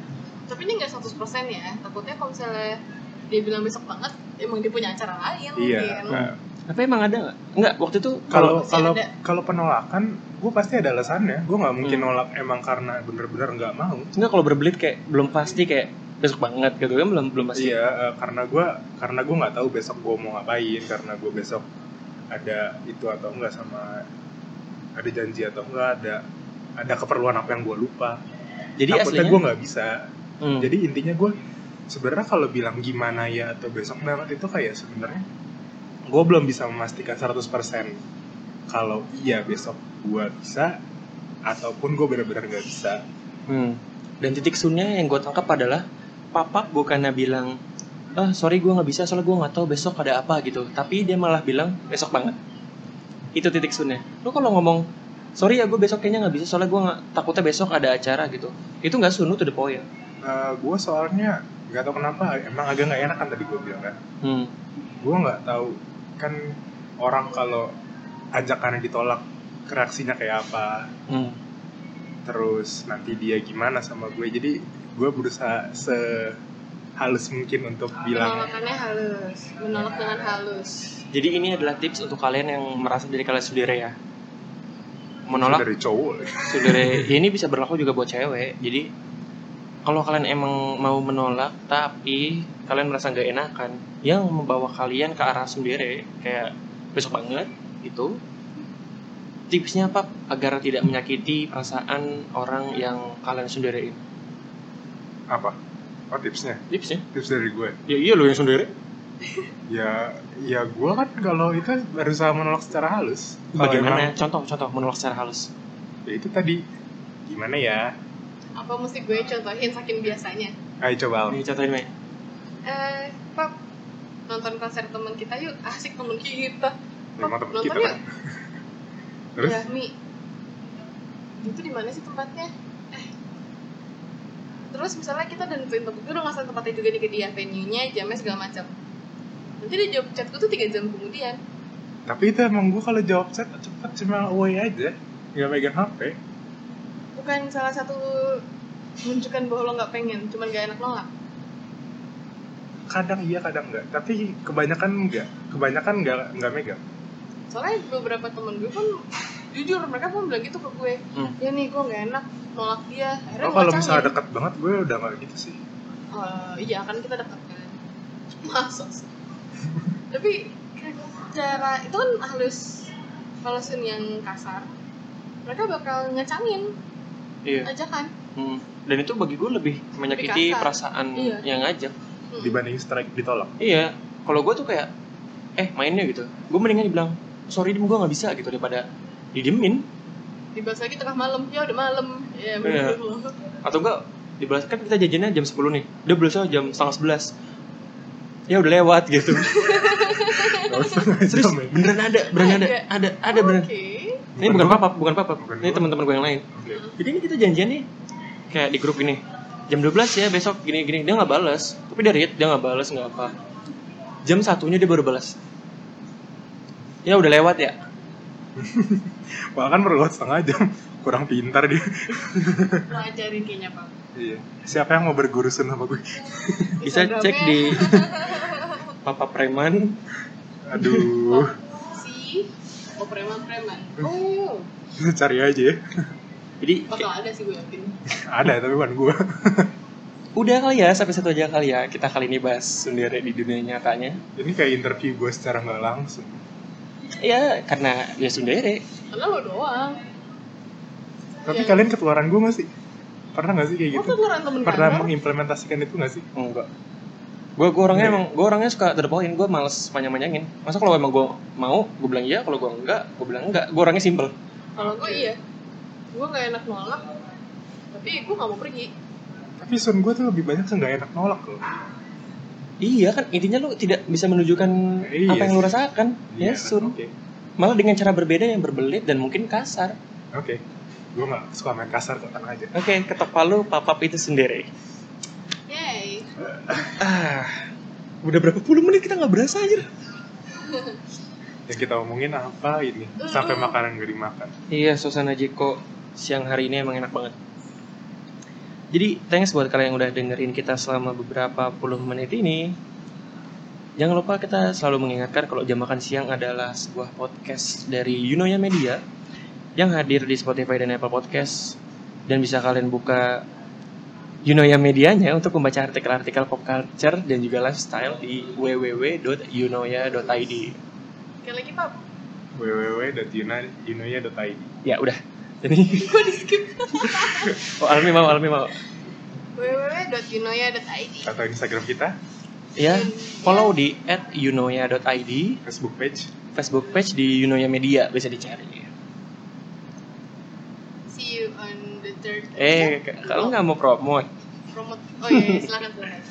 S1: Tapi ini nggak 100% ya. Takutnya kalau misalnya dia bilang besok banget, emang dia punya acara lain
S2: Iya.
S1: mungkin.
S2: nah,
S3: Apa emang ada nggak? Nggak, waktu itu kalau
S2: Kalau
S1: Pasti
S2: kalau
S1: ada.
S2: kalau penolakan, gue pasti ada alasannya. Gue nggak mungkin
S3: Hmm.
S2: nolak emang karena bener-bener nggak mau.
S3: nggak kalau berbelit kayak belum pasti kayak besok banget gitu kan belum belum pasti.
S2: Iya, eh, karena gue karena gue nggak tahu besok gue mau ngapain, karena gue besok ada itu atau enggak sama ada janji atau enggak ada ada keperluan apa yang gue lupa.
S3: Jadi
S2: Takutnya
S3: aslinya
S2: gue nggak bisa.
S3: hmm,
S2: Jadi intinya gue sebenarnya kalau bilang gimana ya atau besok banget itu kayak sebenarnya gue belum bisa memastikan 100% kalau iya besok gue bisa ataupun gue benar-benar nggak bisa.
S3: hmm. dan titik sunnya yang gue tangkap adalah papa bukannya bilang ah sorry gue nggak bisa soalnya gue nggak tahu besok ada apa gitu tapi dia malah bilang besok banget itu titik sunnya lu kalau ngomong sorry ya gue besok kayaknya nggak bisa soalnya gue nggak takutnya besok ada acara gitu itu nggak sunu to the point
S2: gue Eh, soalnya nggak tahu kenapa emang agak nggak enak kan tadi gue bilang kan.
S3: hmm.
S2: gue nggak tahu kan orang kalau ajakannya ditolak reaksinya kayak apa
S3: Hmm.
S2: terus nanti dia gimana sama gue jadi gue berusaha sehalus mungkin untuk bilang
S1: Penolakannya halus, menolak dengan halus.
S3: jadi ini adalah tips untuk kalian yang merasa diri kalian sendiri ya menolak
S2: dari cowok
S3: saudara ini bisa berlaku juga buat cewek jadi kalau kalian emang mau menolak tapi kalian merasa nggak enakan yang membawa kalian ke arah sendiri kayak besok banget gitu tipsnya apa agar tidak menyakiti perasaan orang yang kalian sendiriin
S2: apa oh tipsnya
S3: tipsnya
S2: tips dari gue
S3: ya iya lo yang sendiri
S2: ya ya gue kan kalau itu berusaha menolak secara halus Kalau
S3: bagaimana
S2: emang-
S3: ya, contoh contoh menolak secara halus
S2: ya itu tadi gimana ya
S1: Apa mesti gue contohin saking biasanya?
S2: ayo coba Al.
S3: ini contohin Mei
S1: Eh, Pap, nonton konser teman kita yuk. Asik teman kita.
S2: emang temen kita
S1: nonton
S2: kan terus
S1: Ya, Mi. Itu di mana sih tempatnya? Eh. Terus misalnya kita udah nentuin tempat, gue udah ngasih tempatnya juga nih ke dia, venue-nya, jamnya segala macam. Nanti dia jawab chat gue tuh 3 jam kemudian.
S2: tapi itu emang gue kalau jawab chat cepet cuma away aja nggak megang hp
S1: Bukan salah satu menunjukkan bahwa lo nggak pengen, cuman gak enak nolak.
S2: kadang iya kadang enggak tapi kebanyakan enggak kebanyakan enggak enggak megang
S1: Soalnya beberapa temen gue pun jujur mereka pun bilang gitu ke gue.
S3: Hmm.
S1: Ya nih gue nggak enak nolak dia. Akhirnya
S2: oh,
S1: gue
S2: kalau
S1: kacangin.
S2: misalnya dekat banget gue udah nggak gitu sih
S1: Oh, iya kan kita dekat kan. <laughs> Masa sih? Tapi kayak cara itu kan halus halusin yang kasar. Mereka bakal ngecangin
S3: iya
S1: ajakan.
S3: Hmm. dan itu bagi gue lebih menyakiti
S1: kasar.
S3: perasaan
S1: Iya.
S3: yang ngajak
S1: Mm.
S2: dibanding strike ditolak
S3: Iya, kalau gue tuh kayak eh mainnya gitu. Gue mendingan dibilang sorry dim gue nggak bisa gitu daripada didiemin
S1: Dibahas lagi tengah malam. Ya udah malam. Ya, <laughs>
S3: Iya.
S1: bener-bener.
S3: atau enggak dibalas kan kita jajannya jam 10 nih. Dia balasnya jam setengah 11 Ya udah lewat gitu. Serius
S2: terus
S3: beneran ada, beneran ada, ada, ada beneran.
S1: Oh, Oke.
S3: Ini bukan papa, bukan papa.
S2: Bukan
S3: Ini
S2: gua.
S3: teman-teman gue yang lain. Jadi ini kita janjian nih kayak di grup gini. Jam 12 ya besok gini gini dia nggak balas. Tapi dia read dia nggak balas nggak apa. jam satunya dia baru balas ya udah lewat ya
S2: Bahkan kan perlu setengah jam kurang pintar dia.
S1: Lo ajarin kayaknya pak.
S2: Iya. Siapa yang mau berguru sama gue?
S3: bisa
S1: Instagramnya
S3: cek
S1: <laughs>
S3: di Papa Preman
S1: <laughs>
S2: Aduh,
S1: si oh preman preman. Oh
S2: cari aja ya.
S3: jadi
S1: bakal
S3: kayak,
S1: ada sih gue yakin.
S2: Ada tapi bukan gue.
S3: udah kali ya sampai satu aja kali ya kita kali ini bahas sendiri di dunia nyatanya
S2: Ini kayak interview gue secara nggak langsung.
S3: ya karena dia sendiri
S1: Karena lo doang.
S2: Tapi
S1: Iya.
S2: kalian ketularan gue masih pernah nggak sih kayak
S1: Lo
S2: gitu?
S1: tuh ngeran temen
S2: Pernah
S1: kantor.
S2: mengimplementasikan itu nggak sih?
S3: enggak gue gue orangnya
S2: Enggak
S3: emang gue orangnya suka to the point gue males panjang panjangin masa kalau emang gue mau gue bilang iya kalau gue enggak gue bilang enggak gue orangnya simple
S1: Kalau gue iya, gue nggak enak nolak. Tapi gue nggak mau pergi.
S2: Tapi son gue tuh lebih banyak nggak enak nolak loh.
S3: iya kan intinya lu tidak bisa menunjukkan
S2: Iya
S3: apa yang lu
S2: sih.
S3: rasakan
S2: Iya,
S3: ya sun
S2: Oke,
S3: malah dengan cara berbeda yang berbelit dan mungkin kasar
S2: oke. Gue nggak suka main kasar kok tenang aja.
S3: oke ketok palu papap itu sendiri
S1: Yay.
S3: ah udah berapa puluh menit kita nggak berasa aja
S2: Yang kita omongin apa ini? Sampai makanan gak dimakan.
S3: Iya, suasana Jeko siang hari ini emang enak banget. Jadi, thanks buat kalian yang udah dengerin kita selama beberapa puluh menit ini. Jangan lupa kita selalu mengingatkan kalau jam makan siang adalah sebuah podcast dari Yunoya Media yang hadir di Spotify dan Apple Podcast dan bisa kalian buka Yunoya Medianya untuk membaca artikel-artikel pop culture dan juga lifestyle di www.yunoya.id.
S1: Kayak lagi pak,
S2: www.yunoya.id
S3: Ya, udah. <laughs> Ini
S1: gue di skip.
S3: oh, Almi mau, Almi mau.
S1: www.yunoya.id.
S2: atau Instagram kita,
S3: Ya, follow di @yunoya.id,
S2: Facebook page.
S3: Facebook page di Yunoya Media bisa dicari.
S1: See you on the third.
S3: Eh, k- kalau nggak mau promote,
S1: promote. Oh iya, iya, silakan silakan.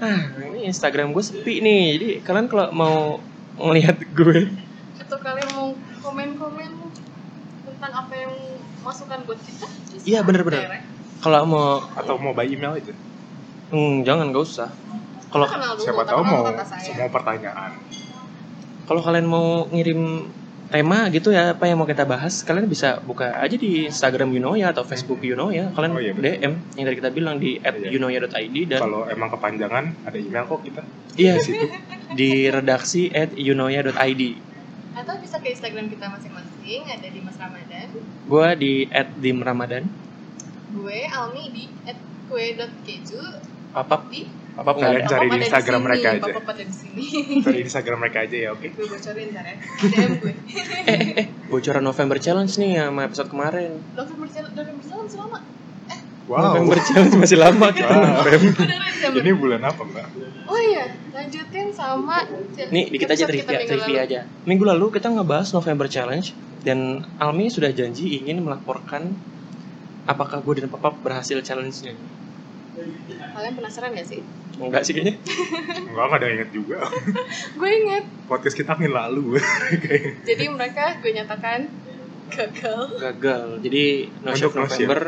S3: ah, ini Instagram gue sepi nih. Jadi kalian kalau mau ngelihat gue,
S1: Atau kalian mau komen-komen tentang apa yang masukan buat kita? bisa
S3: Iya, bener-bener.
S1: direct.
S3: kalau mau,
S2: atau mau by email aja.
S3: hmm, jangan nggak usah. Kalau
S1: Kita kenal dulu,
S2: Siapa
S1: tak
S2: tahu
S1: kenal
S2: mau
S1: kata saya.
S2: mau pertanyaan.
S3: kalau kalian mau ngirim tema gitu ya apa yang mau kita bahas kalian bisa buka aja di Instagram Yunoya atau Facebook Yunoya kalian
S2: Oh, iya, betul.
S3: DM yang tadi kita bilang di
S2: Iya.
S3: @yunoya.id dan
S2: Kalau emang kepanjangan ada email kok kita.
S3: iya situ
S2: <laughs>
S3: di redaksi @yunoya.id
S1: Atau bisa ke Instagram kita masing-masing, ada di Mas Ramadan.
S3: Gue di @dimramadan.
S1: Gue Almi di @kue.keju
S3: Apa
S1: di
S3: apa
S2: Kalian
S3: nggak ada?
S2: cari
S1: Papa
S2: di
S1: ada
S2: Instagram
S1: sini,
S2: mereka aja.
S1: Papa ada di sini. <laughs>
S2: Dari Instagram mereka aja ya, oke.
S1: gue bocorin ntar ya. DM gue.
S3: Bocoran November Challenge nih sama episode kemarin.
S1: November Challenge November Challenge
S3: <laughs>
S1: selama.
S2: Wow.
S3: November
S2: <laughs>
S3: Challenge masih lama gitu. kita.
S2: Wow.
S3: November.
S1: Beneran November.
S2: Ini bulan apa, Mbak?
S1: Oh iya, lanjutin sama
S3: Nih dikit aja
S1: episode kita
S3: trivia,
S1: minggu
S3: trivia
S1: lalu.
S3: aja. Minggu lalu kita ngebahas November Challenge dan Almi sudah janji ingin melaporkan apakah gue dan Papa berhasil challenge-nya.
S1: Kalian penasaran gak sih?
S3: Enggak sih kayaknya.
S2: Enggak enggak ada yang inget juga.
S1: Gue inget,
S2: Podcast kita angin lalu. Kayak
S1: jadi mereka gue nyatakan gagal.
S3: Gagal. Jadi no
S2: Untuk
S3: chef
S2: no chef.
S3: November.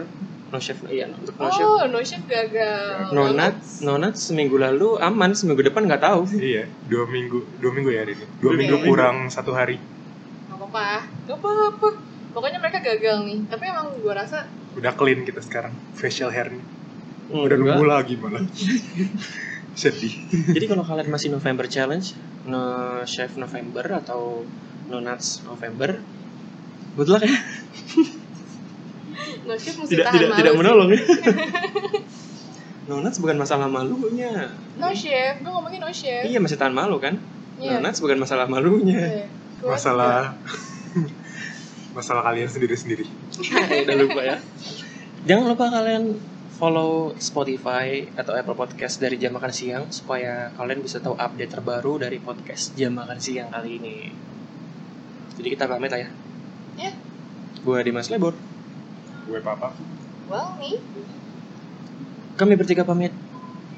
S3: No chef. Iya, untuk no chef.
S1: Oh, no chef gagal.
S3: No nut, no nut seminggu lalu aman, seminggu depan nggak tahu.
S2: iya, dua minggu, dua minggu ya hari ini. Dua
S1: Dua
S2: minggu
S1: minggu.
S2: kurang satu hari.
S1: Gak apa-apa, gak apa-apa. Pokoknya mereka gagal nih, tapi emang gue rasa
S2: Udah clean kita sekarang facial hairnya. Udah
S3: Enggak.
S2: nunggu lagi malah. <laughs> Sedih.
S3: Jadi kalau kalian masih November Challenge, no Chef November atau No Nuts November, good luck ya.
S1: no chef mesti
S3: Tidak
S1: tahan
S3: tidak
S1: malu sih.
S3: tidak
S1: <laughs>
S3: menolong ya. no Nuts bukan masalah malunya.
S1: No chef, gue ngomongin no chef.
S3: Iya masih tahan malu kan?
S1: Iya.
S3: No Nuts bukan masalah <laughs> malunya.
S1: Iya. Gua
S2: Masalah <laughs> masalah kalian sendiri-sendiri.
S3: Udah lupa ya. Jangan lupa kalian follow Spotify atau Apple Podcast dari Jam Makan Siang supaya kalian bisa tahu update terbaru dari podcast Jam Makan Siang kali ini. Jadi kita pamit lah ya.
S1: Iya.
S3: Gue Dimas Lebor.
S2: Gue papa.
S1: juga, Well nih,
S3: Kami bertiga pamit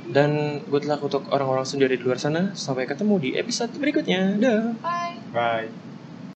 S3: dan good luck untuk orang-orang sendiri di luar sana. Sampai ketemu di episode berikutnya. Dah.
S1: bye.
S2: Bye.